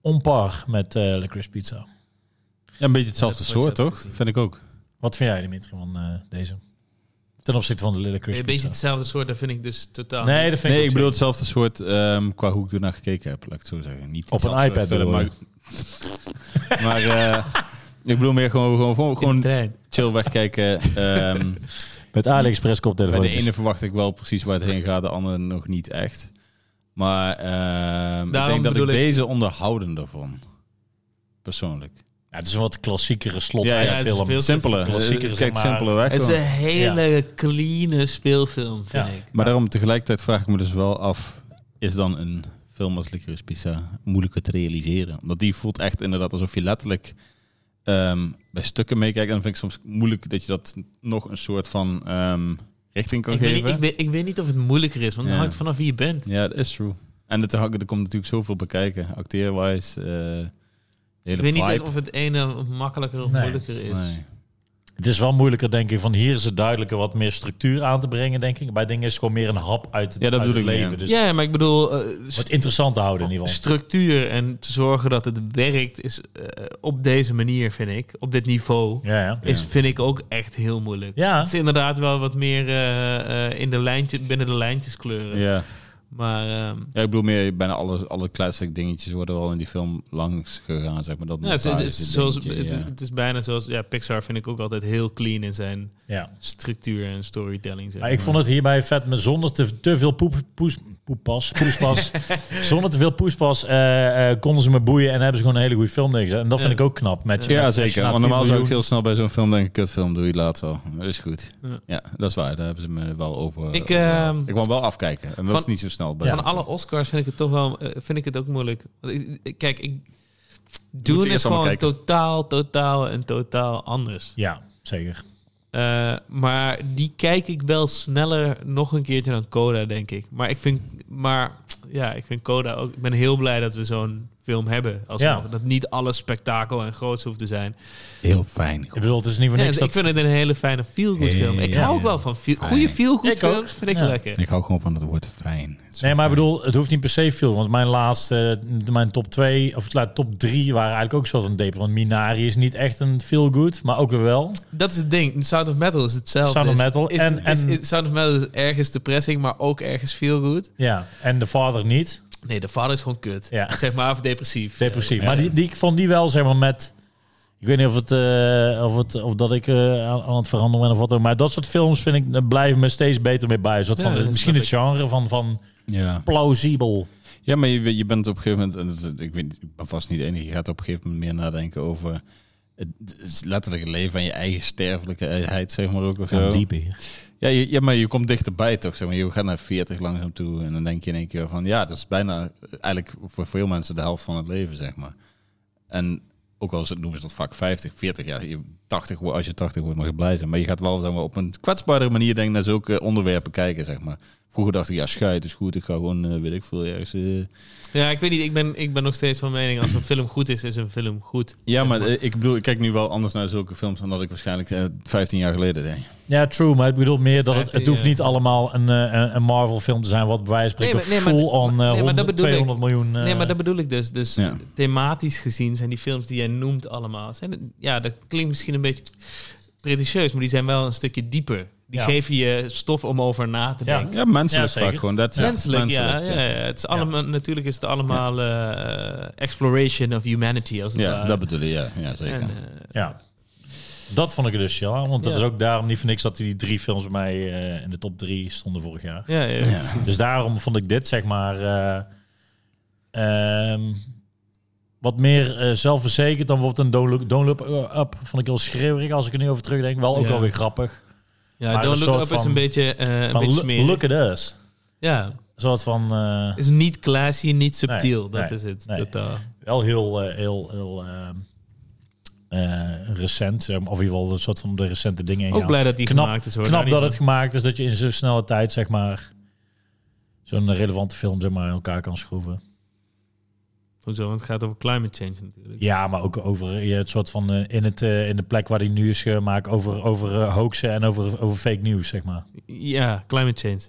[SPEAKER 2] onpar met eh Licorice Pizza.
[SPEAKER 1] Ja, een beetje hetzelfde
[SPEAKER 3] dat is wat
[SPEAKER 1] soort,
[SPEAKER 3] je hebt
[SPEAKER 1] toch? Vind ik ook.
[SPEAKER 2] Wat vind jij, Dimitri, van eh, deze? Ten opzichte van de Licorice
[SPEAKER 3] Een beetje
[SPEAKER 2] Pizza.
[SPEAKER 3] hetzelfde soort, dat vind ik dus totaal
[SPEAKER 2] Nee,
[SPEAKER 3] niet.
[SPEAKER 2] dat vind
[SPEAKER 1] Nee,
[SPEAKER 2] ik
[SPEAKER 1] ik
[SPEAKER 2] ook
[SPEAKER 1] bedoel
[SPEAKER 2] chill.
[SPEAKER 1] hetzelfde soort ehm, qua hoe ik ernaar gekeken heb, laat ik het zo zeggen. Niet
[SPEAKER 2] Op een
[SPEAKER 1] hetzelfde
[SPEAKER 2] iPad
[SPEAKER 1] soort film, maar, *laughs* maar eh, ik bedoel meer gewoon, gewoon, gewoon,
[SPEAKER 3] in de
[SPEAKER 1] gewoon
[SPEAKER 3] trein.
[SPEAKER 1] chill wegkijken. ehm,
[SPEAKER 2] Met AliExpress
[SPEAKER 1] Bij
[SPEAKER 2] koptelefoon.
[SPEAKER 1] de ene verwacht ik wel precies waar het heen gaat, de andere nog niet echt. Maar ehm, ik
[SPEAKER 3] Daarom
[SPEAKER 1] denk dat ik,
[SPEAKER 3] bedoel ik-
[SPEAKER 1] deze onderhoudender vond. Persoonlijk.
[SPEAKER 2] Ja, het is een wat klassiekere slot
[SPEAKER 1] Ja, ja,
[SPEAKER 2] uit
[SPEAKER 1] het
[SPEAKER 3] is
[SPEAKER 2] film.
[SPEAKER 3] veel-
[SPEAKER 1] Simpele.
[SPEAKER 2] klassieker,
[SPEAKER 1] Kijk,
[SPEAKER 2] zeg maar.
[SPEAKER 1] simpele weg.
[SPEAKER 3] Het is
[SPEAKER 1] gewoon.
[SPEAKER 3] een hele clean speelfilm, vind
[SPEAKER 2] Ja.
[SPEAKER 3] ik.
[SPEAKER 1] Maar daarom tegelijkertijd vraag ik me dus wel af... is dan een film als Licorice Pizza moeilijker te realiseren? Omdat die voelt echt inderdaad alsof je letterlijk... ehm, bij stukken meekijkt. En dan vind ik soms moeilijk dat je dat nog een soort van ehm, richting kan
[SPEAKER 3] Ik weet,
[SPEAKER 1] geven.
[SPEAKER 3] niet- ik, weet, ik weet niet of het moeilijker is, want
[SPEAKER 1] Ja.
[SPEAKER 3] het hangt vanaf wie je bent.
[SPEAKER 1] Ja, dat is true. En het, er hangt- er komt natuurlijk zoveel bekijken. Acteerwise, eh de hele
[SPEAKER 3] ik weet
[SPEAKER 1] vibe.
[SPEAKER 3] niet of het ene makkelijker of
[SPEAKER 2] Nee.
[SPEAKER 3] moeilijker is.
[SPEAKER 1] Nee.
[SPEAKER 2] Het is wel moeilijker, denk ik. Van hier is het duidelijker wat meer structuur aan te brengen, denk ik. Bij dingen is het gewoon meer een hap uit het,
[SPEAKER 1] Ja, dat
[SPEAKER 2] uit
[SPEAKER 1] bedoel
[SPEAKER 2] het
[SPEAKER 1] ik,
[SPEAKER 2] leven.
[SPEAKER 1] ja.
[SPEAKER 2] Dus
[SPEAKER 3] ja, maar ik bedoel, eh, st-
[SPEAKER 2] wat interessant te houden in ieder geval.
[SPEAKER 3] structuur en te zorgen dat het werkt is eh, op deze manier, vind ik, op dit niveau,
[SPEAKER 2] Ja, ja.
[SPEAKER 3] is, vind ik ook echt heel moeilijk.
[SPEAKER 2] Ja,
[SPEAKER 3] Het is inderdaad wel wat meer eh, eh, in de lijntje, binnen de lijntjes kleuren.
[SPEAKER 1] Ja.
[SPEAKER 3] Maar ehm,
[SPEAKER 1] ja, ik bedoel meer bijna alle, alle classic dingetjes worden wel in die film langs gegaan, zeg maar. Dat
[SPEAKER 3] ja, het, is- het is
[SPEAKER 1] montage
[SPEAKER 3] zoals,
[SPEAKER 1] dingetje,
[SPEAKER 3] het, is,
[SPEAKER 1] ja.
[SPEAKER 3] het is bijna zoals... Ja, Pixar vind ik ook altijd heel clean in zijn
[SPEAKER 2] ja.
[SPEAKER 3] structuur en storytelling. zeg
[SPEAKER 2] Maar ik
[SPEAKER 3] maar.
[SPEAKER 2] vond het hierbij vet, met zonder te, te veel poep, poes, poeppas, poespas, zonder te veel poespas eh, eh, konden ze me boeien en hebben ze gewoon een hele goede film neergezet. En dat vind
[SPEAKER 3] Ja.
[SPEAKER 2] ik ook knap. Met,
[SPEAKER 1] Ja,
[SPEAKER 2] met- als je
[SPEAKER 1] zeker.
[SPEAKER 2] na
[SPEAKER 1] Want normaal
[SPEAKER 2] 10
[SPEAKER 1] zou ik
[SPEAKER 2] miljoen-
[SPEAKER 1] heel snel bij zo'n film denken, kutfilm doe je later wel. Dat is goed.
[SPEAKER 3] Ja.
[SPEAKER 1] Ja. dat is waar. Daar hebben ze me wel over.
[SPEAKER 3] Ik,
[SPEAKER 1] over gehad.
[SPEAKER 3] ehm,
[SPEAKER 1] ik wou wel afkijken. En dat
[SPEAKER 3] van-
[SPEAKER 1] is niet zo snel. Bij
[SPEAKER 2] Ja.
[SPEAKER 1] zo'n
[SPEAKER 3] Van alle Oscars vind ik het toch wel, eh, vind ik het ook moeilijk. Want ik- ik- Kijk, ik,
[SPEAKER 1] eerst
[SPEAKER 3] doen is
[SPEAKER 1] allemaal
[SPEAKER 3] gewoon
[SPEAKER 1] kijken.
[SPEAKER 3] totaal, totaal en totaal anders.
[SPEAKER 2] Ja, zeker.
[SPEAKER 3] Eh, maar die kijk ik wel sneller nog een keertje dan Coda, denk ik. Maar ik vind, maar ja, ik vind Coda ook. Ik ben heel blij dat we zo'n film hebben. Als
[SPEAKER 2] Ja.
[SPEAKER 3] Dat niet alles spektakel en groots hoeft te zijn.
[SPEAKER 1] film. Heel fijn.
[SPEAKER 2] Ik bedoel, het is niet voor
[SPEAKER 3] Ja,
[SPEAKER 2] niks
[SPEAKER 3] dus
[SPEAKER 2] dat...
[SPEAKER 3] ik vind het een hele fijne feel-good film. Ik
[SPEAKER 1] Ja.
[SPEAKER 3] hou ook wel van feel, goede
[SPEAKER 1] Fijn.
[SPEAKER 3] feel-good
[SPEAKER 2] Ik ook.
[SPEAKER 3] films. Vind ik
[SPEAKER 2] Ja.
[SPEAKER 3] lekker.
[SPEAKER 1] Ik hou gewoon van het woord fijn. Het is
[SPEAKER 2] Nee, maar ik
[SPEAKER 1] fijn.
[SPEAKER 2] bedoel, het hoeft niet per se veel. Want mijn laatste, mijn top 2, of laat top 3 waren eigenlijk ook soort van depen. Want Minari is niet echt een feel good, maar ook weer wel.
[SPEAKER 3] Dat is het ding. Sound of Metal is hetzelfde.
[SPEAKER 2] Sound of
[SPEAKER 3] Is-
[SPEAKER 2] Metal
[SPEAKER 3] Is,
[SPEAKER 2] en-
[SPEAKER 3] is-
[SPEAKER 2] en-
[SPEAKER 3] is- Sound of Metal is ergens depressing, maar ook ergens feel-good.
[SPEAKER 2] Ja, en de vader niet.
[SPEAKER 3] Nee, de vader is gewoon kut.
[SPEAKER 2] Ja.
[SPEAKER 3] Zeg maar, of depressief.
[SPEAKER 2] Depressief.
[SPEAKER 3] Eh,
[SPEAKER 2] Maar
[SPEAKER 3] eh,
[SPEAKER 2] die, die, ik vond die wel, zeg maar, met... Ik weet niet of, het, eh, of, het, of dat ik eh, aan, aan het veranderen ben of wat ook. Maar dat soort films vind ik, eh, blijven me steeds beter mee bij. Een soort
[SPEAKER 3] Ja,
[SPEAKER 2] van,
[SPEAKER 3] dat
[SPEAKER 2] misschien
[SPEAKER 3] snap
[SPEAKER 2] het genre van, van
[SPEAKER 1] Ja.
[SPEAKER 2] plausibel.
[SPEAKER 1] Ja, maar je, je bent op een gegeven moment, en dat is- ik, weet, niet, ik ben vast niet de enige, je gaat op een gegeven moment meer nadenken over het het letterlijke leven en je eigen sterfelijkheid, zeg maar ook. Of zo.
[SPEAKER 2] hier.
[SPEAKER 1] Ja, je, ja, maar je komt dichterbij toch, zeg maar. Je gaat naar 40 langzaam toe en dan denk je in één keer van, ja, dat is bijna eigenlijk voor veel mensen de helft van het leven, zeg maar. En ook al is het, noemen ze dat vaak 50, 40 jaar, je- 80, wordt- als je 80 wordt mag je blij zijn. Maar je gaat wel zeg maar, op een kwetsbare manier denk ik, naar zulke onderwerpen kijken, zeg maar. Vroeger dacht ik, ja, schuit is goed, ik ga gewoon, eh, weet ik veel, ergens... eh,
[SPEAKER 3] Ja, ik weet niet. Ik ben, ik ben nog steeds van
[SPEAKER 2] *clears throat*
[SPEAKER 3] mening, als een film goed is, is een film goed.
[SPEAKER 1] Ja, maar eh, ik bedoel, ik kijk nu wel anders naar zulke films dan dat ik waarschijnlijk eh, 15 jaar geleden deed.
[SPEAKER 2] Ja, true. Maar ik bedoel meer dat het, het hoeft
[SPEAKER 3] Ja.
[SPEAKER 2] niet allemaal een, eh, een- een Marvel-film te zijn... wat bij wijze van
[SPEAKER 3] Nee,
[SPEAKER 2] spreken
[SPEAKER 3] maar- nee, maar-
[SPEAKER 2] full on eh,
[SPEAKER 3] nee, maar dat
[SPEAKER 2] 100,
[SPEAKER 3] bedoel ik.
[SPEAKER 2] 200 miljoen... eh,
[SPEAKER 3] Nee, maar dat bedoel ik dus. Dus
[SPEAKER 1] Ja.
[SPEAKER 3] thematisch gezien zijn die films die jij noemt allemaal... Zijn, het- ja, dat klinkt misschien een beetje pretentieus, maar die zijn wel een stukje dieper. Die
[SPEAKER 2] Ja.
[SPEAKER 3] geven je stof om over na te
[SPEAKER 2] Ja.
[SPEAKER 3] denken.
[SPEAKER 1] Ja, menselijk
[SPEAKER 2] Ja, zeker.
[SPEAKER 1] vaak gewoon. Dat is
[SPEAKER 3] Menselijk, ja,
[SPEAKER 1] menselijk,
[SPEAKER 3] ja. ja, Het is allemaal, Natuurlijk is het allemaal eh, exploration of humanity, als het
[SPEAKER 1] Ja,
[SPEAKER 3] ware.
[SPEAKER 1] dat bedoel je, ja, ja zeker.
[SPEAKER 3] En, eh,
[SPEAKER 2] Ja. Dat vond ik er dus, ja. Want dat
[SPEAKER 3] Ja.
[SPEAKER 2] is ook daarom niet voor niks dat die drie films bij mij eh, in de top drie stonden vorig jaar.
[SPEAKER 3] ja, ja,
[SPEAKER 1] Ja.
[SPEAKER 2] *laughs* Dus daarom vond ik dit, zeg maar, eh, ehm, wat meer eh, zelfverzekerd dan bijvoorbeeld een Don't Look, Don't Look Up. Vond ik heel schreeuwerig als ik er nu over terugdenk. Wel ook
[SPEAKER 3] Ja.
[SPEAKER 2] wel weer grappig.
[SPEAKER 3] Ja,
[SPEAKER 2] Maar
[SPEAKER 3] Don't
[SPEAKER 2] een
[SPEAKER 3] Look Up
[SPEAKER 2] soort
[SPEAKER 3] is
[SPEAKER 2] van-
[SPEAKER 3] een beetje, eh een
[SPEAKER 2] Van
[SPEAKER 3] beetje
[SPEAKER 2] look-
[SPEAKER 3] smerig.
[SPEAKER 2] look at us.
[SPEAKER 3] ja,
[SPEAKER 2] Een soort van, eh,
[SPEAKER 3] is niet classy, niet subtiel.
[SPEAKER 2] Nee,
[SPEAKER 3] dat
[SPEAKER 2] nee,
[SPEAKER 3] is het,
[SPEAKER 2] nee.
[SPEAKER 3] totaal.
[SPEAKER 2] wel heel, eh, heel, heel ehm, eh, recent. zeg maar. Of in ieder geval een soort van de recente dingen
[SPEAKER 3] Ook
[SPEAKER 2] ingaan.
[SPEAKER 3] blij dat die
[SPEAKER 2] Knap-
[SPEAKER 3] gemaakt is. Hoor.
[SPEAKER 2] knap
[SPEAKER 3] Daar
[SPEAKER 2] dat
[SPEAKER 3] niet
[SPEAKER 2] het gemaakt is dat je in zo'n snelle tijd, zeg maar, zo'n relevante film zeg maar, in elkaar kan schroeven.
[SPEAKER 3] van. Hoezo? Want het gaat over climate change natuurlijk.
[SPEAKER 2] Ja, maar ook over je het soort van eh, in, het, eh, in de plek waar die nu is gemaakt, over, over eh, hoaxen en over, over fake news, zeg maar.
[SPEAKER 3] Ja, climate change.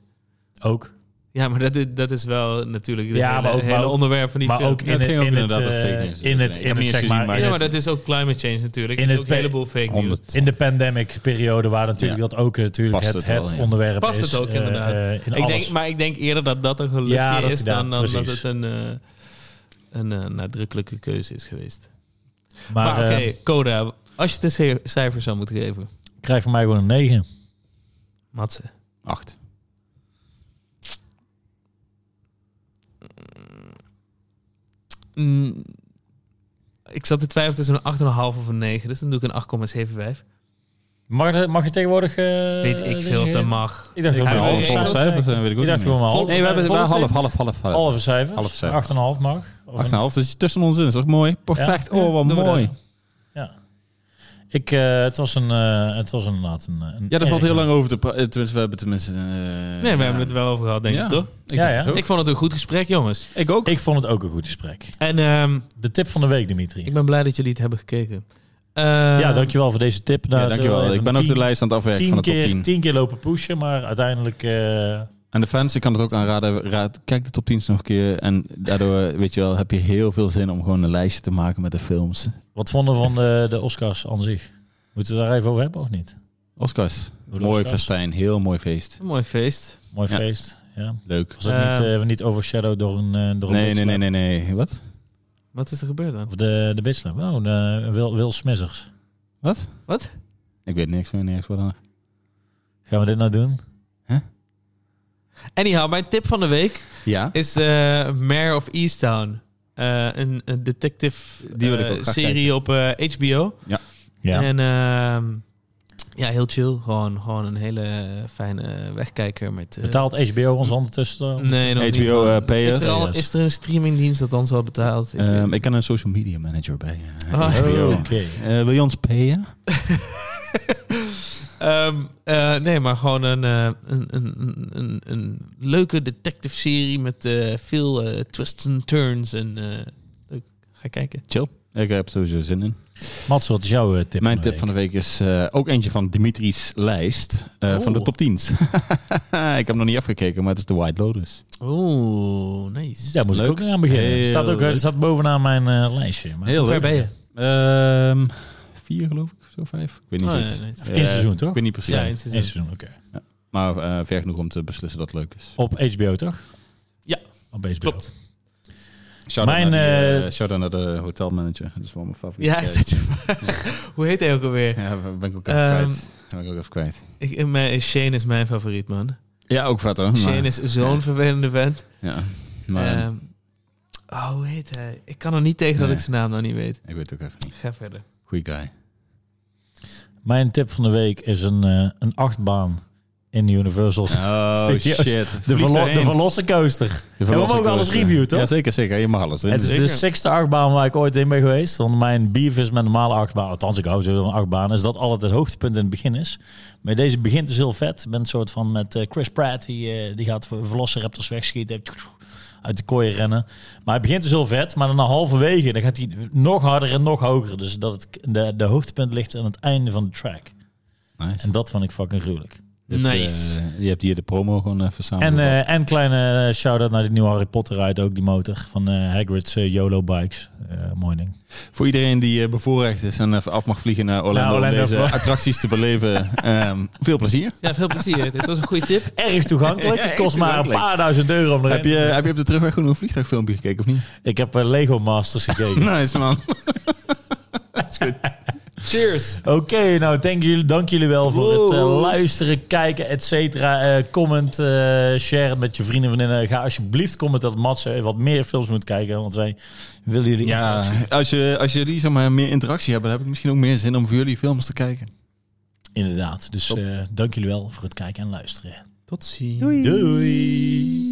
[SPEAKER 2] Ook.
[SPEAKER 3] Ja, maar dat is, dat is wel natuurlijk het
[SPEAKER 2] Ja,
[SPEAKER 3] hele,
[SPEAKER 2] maar ook-
[SPEAKER 3] hele
[SPEAKER 2] maar ook-
[SPEAKER 3] onderwerp van die
[SPEAKER 2] Maar
[SPEAKER 3] film.
[SPEAKER 2] ook
[SPEAKER 1] Ja,
[SPEAKER 2] in
[SPEAKER 1] het
[SPEAKER 2] het,
[SPEAKER 1] ging ook
[SPEAKER 2] in het,
[SPEAKER 1] inderdaad
[SPEAKER 2] eh,
[SPEAKER 1] over fake news.
[SPEAKER 2] in het,
[SPEAKER 1] Ik heb niet
[SPEAKER 2] in het,
[SPEAKER 1] eens
[SPEAKER 2] zeg
[SPEAKER 1] gezien,
[SPEAKER 2] maar,
[SPEAKER 1] maar
[SPEAKER 2] in
[SPEAKER 3] ja,
[SPEAKER 2] het-
[SPEAKER 3] maar dat is ook climate change natuurlijk.
[SPEAKER 2] in
[SPEAKER 3] Er is
[SPEAKER 2] het
[SPEAKER 3] ook een
[SPEAKER 2] pe-
[SPEAKER 3] heleboel fake news.
[SPEAKER 1] Honderd.
[SPEAKER 2] in de pandemic periode waar natuurlijk
[SPEAKER 1] Ja.
[SPEAKER 2] dat ook natuurlijk
[SPEAKER 1] Past
[SPEAKER 2] het,
[SPEAKER 1] het wel,
[SPEAKER 2] het
[SPEAKER 1] ja.
[SPEAKER 2] onderwerp
[SPEAKER 3] Past
[SPEAKER 2] is.
[SPEAKER 3] het ook,
[SPEAKER 2] eh,
[SPEAKER 3] inderdaad.
[SPEAKER 2] eh, in
[SPEAKER 3] Ik denk,
[SPEAKER 2] alles.
[SPEAKER 3] maar ik denk eerder dat dat een gelukje
[SPEAKER 2] Ja, dat-
[SPEAKER 3] is
[SPEAKER 2] ja,
[SPEAKER 3] dan, dan dat
[SPEAKER 2] precies.
[SPEAKER 3] het een, eh, een eh, nadrukkelijke keuze is geweest. Maar,
[SPEAKER 2] maar
[SPEAKER 3] oké,
[SPEAKER 2] eh,
[SPEAKER 3] Coda, als je het een ce- cijfer zou moeten geven,
[SPEAKER 2] krijg van mij gewoon een 9.
[SPEAKER 3] Matze.
[SPEAKER 1] Acht.
[SPEAKER 3] Mm, ik zat te twijfelen tussen een 8,5 of een 9, dus dan doe ik een 8,75.
[SPEAKER 2] Mag, dat- mag je tegenwoordig... eh,
[SPEAKER 3] Weet ik veel of dat
[SPEAKER 2] dingen-
[SPEAKER 3] mag.
[SPEAKER 2] Ik dacht
[SPEAKER 3] Ik
[SPEAKER 2] dat we
[SPEAKER 3] weet
[SPEAKER 1] Ja,
[SPEAKER 2] een halve
[SPEAKER 1] half
[SPEAKER 3] het
[SPEAKER 1] volle
[SPEAKER 3] niet.
[SPEAKER 2] cijfer
[SPEAKER 1] cijfers, eh.
[SPEAKER 2] zijn.
[SPEAKER 1] dan weet ik ook
[SPEAKER 2] Ik dacht
[SPEAKER 1] niet meer.
[SPEAKER 2] gewoon een halve
[SPEAKER 1] Nee, we hebben het wel half, half, half, half.
[SPEAKER 2] Halve cijfers.
[SPEAKER 1] Halve cijfers.
[SPEAKER 2] Acht en een half mag. Of
[SPEAKER 1] Acht en
[SPEAKER 2] een-
[SPEAKER 1] een half, dat is tussen ons in. Dat is toch mooi? Perfect.
[SPEAKER 2] Ja,
[SPEAKER 1] oh, wat
[SPEAKER 2] doen we
[SPEAKER 1] mooi.
[SPEAKER 2] dat. Ja. Ik, eh, het was een, eh het was inderdaad een, een
[SPEAKER 1] Ja, daar valt
[SPEAKER 2] erg-
[SPEAKER 1] heel lang over te praten. Tenminste, we hebben tenminste... eh,
[SPEAKER 3] Nee, we
[SPEAKER 1] ja.
[SPEAKER 3] hebben het wel over gehad, denk
[SPEAKER 1] Ja.
[SPEAKER 3] ik, toch?
[SPEAKER 1] Ik,
[SPEAKER 2] Ja,
[SPEAKER 1] ja,
[SPEAKER 2] ja.
[SPEAKER 3] Ik vond het een goed gesprek, jongens.
[SPEAKER 1] ik ook.
[SPEAKER 2] Ik vond het ook een goed gesprek.
[SPEAKER 3] En ehm,
[SPEAKER 2] De tip van de week, Dimitri.
[SPEAKER 3] ik ben blij dat jullie het hebben gekeken. Eh,
[SPEAKER 2] ja, dankjewel voor deze tip. Nou,
[SPEAKER 1] Ja,
[SPEAKER 2] het,
[SPEAKER 1] dankjewel.
[SPEAKER 2] eh,
[SPEAKER 1] Ik ben ook
[SPEAKER 2] tien-
[SPEAKER 1] de lijst aan het afwerken van
[SPEAKER 2] Tien
[SPEAKER 1] de top
[SPEAKER 2] keer,
[SPEAKER 1] 10.
[SPEAKER 2] tien keer lopen pushen, maar uiteindelijk... eh,
[SPEAKER 1] En de fans, ik kan het ook aanraden, raad, kijk de top 10 nog een keer. En daardoor, eh, weet je wel, heb je heel veel zin om gewoon een lijstje te maken met de films.
[SPEAKER 2] wat vonden we van de, de Oscars aan zich? Moeten we daar even over hebben of niet?
[SPEAKER 1] Oscars.
[SPEAKER 2] Voor de
[SPEAKER 1] mooi
[SPEAKER 2] Oscars.
[SPEAKER 1] festijn, heel mooi feest.
[SPEAKER 3] Ehm, Een mooi feest.
[SPEAKER 2] Mooi
[SPEAKER 1] Ja.
[SPEAKER 2] feest. Ja.
[SPEAKER 1] Leuk.
[SPEAKER 2] Was het
[SPEAKER 3] Eh,
[SPEAKER 2] niet, eh, niet overshadowed door een... eh, door een
[SPEAKER 1] Nee, nee,
[SPEAKER 2] bitslap?
[SPEAKER 1] nee, nee, nee. Wat?
[SPEAKER 3] Wat is er gebeurd dan?
[SPEAKER 2] Of de, de bitslap. Oh, de Wil, Wil Smissers.
[SPEAKER 1] Wat?
[SPEAKER 3] Wat?
[SPEAKER 1] Ik weet niks meer, niks meer dan.
[SPEAKER 2] Gaan we dit nou doen?
[SPEAKER 3] Anyhow, mijn tip van de week
[SPEAKER 1] Ja?
[SPEAKER 3] is eh Mayor of Easttown. Eh, een, een detective
[SPEAKER 1] Die wil ik ook
[SPEAKER 3] eh,
[SPEAKER 1] graag
[SPEAKER 3] serie op eh, HBO.
[SPEAKER 2] Ja.
[SPEAKER 3] En ehm, ja, heel chill. Gewoon, gewoon een hele fijne wegkijker met... eh,
[SPEAKER 2] Betaalt HBO ons ondertussen? eh,
[SPEAKER 3] Nee, nog niet,
[SPEAKER 1] HBO,
[SPEAKER 3] man.
[SPEAKER 1] eh, payers.
[SPEAKER 3] Is er, al,
[SPEAKER 2] Juist.
[SPEAKER 3] is er een streamingdienst dat ons al betaalt? Ik weet-
[SPEAKER 1] Ehm, ik kan een social media manager bij. eh,
[SPEAKER 3] Ah.
[SPEAKER 1] HBO.
[SPEAKER 2] Oké.
[SPEAKER 1] Eh, wil je ons payen?
[SPEAKER 3] Ehm, eh, nee, maar gewoon een, eh, een, een, een, een, een leuke detective serie met eh, veel eh, twists en turns. En, eh, leuk, ga kijken.
[SPEAKER 1] Chill. Ik heb er sowieso zin in.
[SPEAKER 2] Mats, wat is jouw eh, tip?
[SPEAKER 1] Mijn
[SPEAKER 2] de
[SPEAKER 1] tip
[SPEAKER 2] week?
[SPEAKER 1] van de week is eh, ook eentje van Dimitri's lijst. eh, Van de
[SPEAKER 2] Oeh.
[SPEAKER 1] top 10. *laughs* ik heb hem nog niet afgekeken, maar het is The White Lotus.
[SPEAKER 3] Oeh, nice.
[SPEAKER 2] Daar moet
[SPEAKER 1] Leuk.
[SPEAKER 2] ik ook aan beginnen.
[SPEAKER 1] Heel
[SPEAKER 2] staat ook eh,
[SPEAKER 1] leuk.
[SPEAKER 2] staat bovenaan mijn eh, lijstje. Maar
[SPEAKER 1] Heel
[SPEAKER 3] Hoe ver
[SPEAKER 1] leuk.
[SPEAKER 3] ben je?
[SPEAKER 1] Ehm, vier geloof ik, of zo vijf. Ik weet niet
[SPEAKER 3] Oh,
[SPEAKER 1] precies.
[SPEAKER 3] ja, nice.
[SPEAKER 2] Of één
[SPEAKER 1] Eh,
[SPEAKER 2] seizoen, toch?
[SPEAKER 1] Ik weet niet precies.
[SPEAKER 3] Ja, in het
[SPEAKER 2] Eén
[SPEAKER 3] seizoen.
[SPEAKER 2] seizoen, oké.
[SPEAKER 1] Maar eh, ver genoeg om te beslissen dat het leuk is.
[SPEAKER 2] Op HBO, toch?
[SPEAKER 3] Ja.
[SPEAKER 2] Op HBO.
[SPEAKER 3] Klopt.
[SPEAKER 1] Shout-out
[SPEAKER 2] Mijn,
[SPEAKER 1] naar, die,
[SPEAKER 2] eh,
[SPEAKER 1] eh, shout-out naar de hotelmanager. Dat is wel mijn favoriete.
[SPEAKER 3] Ja, is dat je- *laughs* hoe heet hij ook alweer?
[SPEAKER 1] ja ben ik ook even
[SPEAKER 3] Ehm,
[SPEAKER 1] kwijt. Ben ik ook even kwijt.
[SPEAKER 3] Ik, mijn, Shane is mijn favoriet,
[SPEAKER 1] Oh,
[SPEAKER 3] man.
[SPEAKER 1] Ja, ook vet hoor. maar-
[SPEAKER 3] Shane is zo'n vervelende vent.
[SPEAKER 1] Ja, maar
[SPEAKER 3] Ehm, oh, hoe heet hij? Ik kan er niet tegen dat
[SPEAKER 1] Nee.
[SPEAKER 3] ik zijn naam nou niet weet.
[SPEAKER 1] ik weet het ook even niet.
[SPEAKER 3] Ga verder.
[SPEAKER 1] Goeie
[SPEAKER 2] *laughs*
[SPEAKER 1] guy.
[SPEAKER 2] Mijn tip van de week is een, eh, een achtbaan in Universal.
[SPEAKER 1] Oh
[SPEAKER 2] Serieus.
[SPEAKER 1] shit.
[SPEAKER 2] De, velo- de Velocicoaster. we mogen alles reviewen, toch?
[SPEAKER 1] Ja, zeker, zeker. Je mag alles.
[SPEAKER 2] Het is de sixte achtbaan waar ik ooit in ben geweest. Want mijn beef is met normale achtbaan, althans ik hou zo van achtbaan, is dat altijd het hoogtepunt in het begin is. Maar deze begint dus heel vet. Je bent een soort van met eh, Chris Pratt, die, eh, die gaat ve- velociraptors wegschieten. Uit de kooi rennen. Maar hij begint dus heel vet. Maar dan na halverwege dan gaat hij nog harder en nog hoger. Dus dat het, de, de hoogtepunt ligt aan het einde van de track.
[SPEAKER 1] Nice.
[SPEAKER 2] En dat vond ik fucking gruwelijk.
[SPEAKER 1] Dit,
[SPEAKER 3] Nice.
[SPEAKER 1] eh, je hebt hier de promo gewoon even samen.
[SPEAKER 2] En, eh, en kleine eh, shout-out naar die nieuwe Harry Potter ride. Ook die motor van eh, Hagrid's eh, YOLO Bikes. Eh mooi ding.
[SPEAKER 1] Voor iedereen die eh, bevoorrecht is en even af mag vliegen naar Orlando,
[SPEAKER 2] Naar Orlando
[SPEAKER 1] om deze
[SPEAKER 2] voor-
[SPEAKER 1] attracties te beleven, ehm, veel plezier.
[SPEAKER 3] Ja, veel
[SPEAKER 1] *laughs*
[SPEAKER 3] plezier. Dit was een goede tip.
[SPEAKER 2] erg toegankelijk.
[SPEAKER 1] Ja,
[SPEAKER 2] Het kost
[SPEAKER 1] erg
[SPEAKER 2] maar een
[SPEAKER 1] toegankelijk.
[SPEAKER 2] paar duizend euro om erin.
[SPEAKER 1] Heb je, heb je op de terugweg gewoon een vliegtuigfilmpje gekeken of niet?
[SPEAKER 2] *laughs* Ik heb eh, Lego Masters gekeken.
[SPEAKER 1] *laughs* Nice man.
[SPEAKER 3] Cheers.
[SPEAKER 2] Oké, nou dank jullie, dank jullie wel voor het eh,
[SPEAKER 1] Proost.
[SPEAKER 2] luisteren, kijken, et cetera. Eh, comment, eh, share het met je vrienden en vriendinnen. Ga alsjeblieft comment dat Mats eh, wat meer films moet kijken, want wij willen jullie
[SPEAKER 1] Ja,
[SPEAKER 2] interactie.
[SPEAKER 1] als, je, als jullie zeg maar, meer interactie hebben, dan heb ik misschien ook meer zin om voor jullie films te kijken.
[SPEAKER 2] Inderdaad, dus eh, dank jullie wel voor het kijken en luisteren.
[SPEAKER 3] Tot ziens.
[SPEAKER 2] Doei.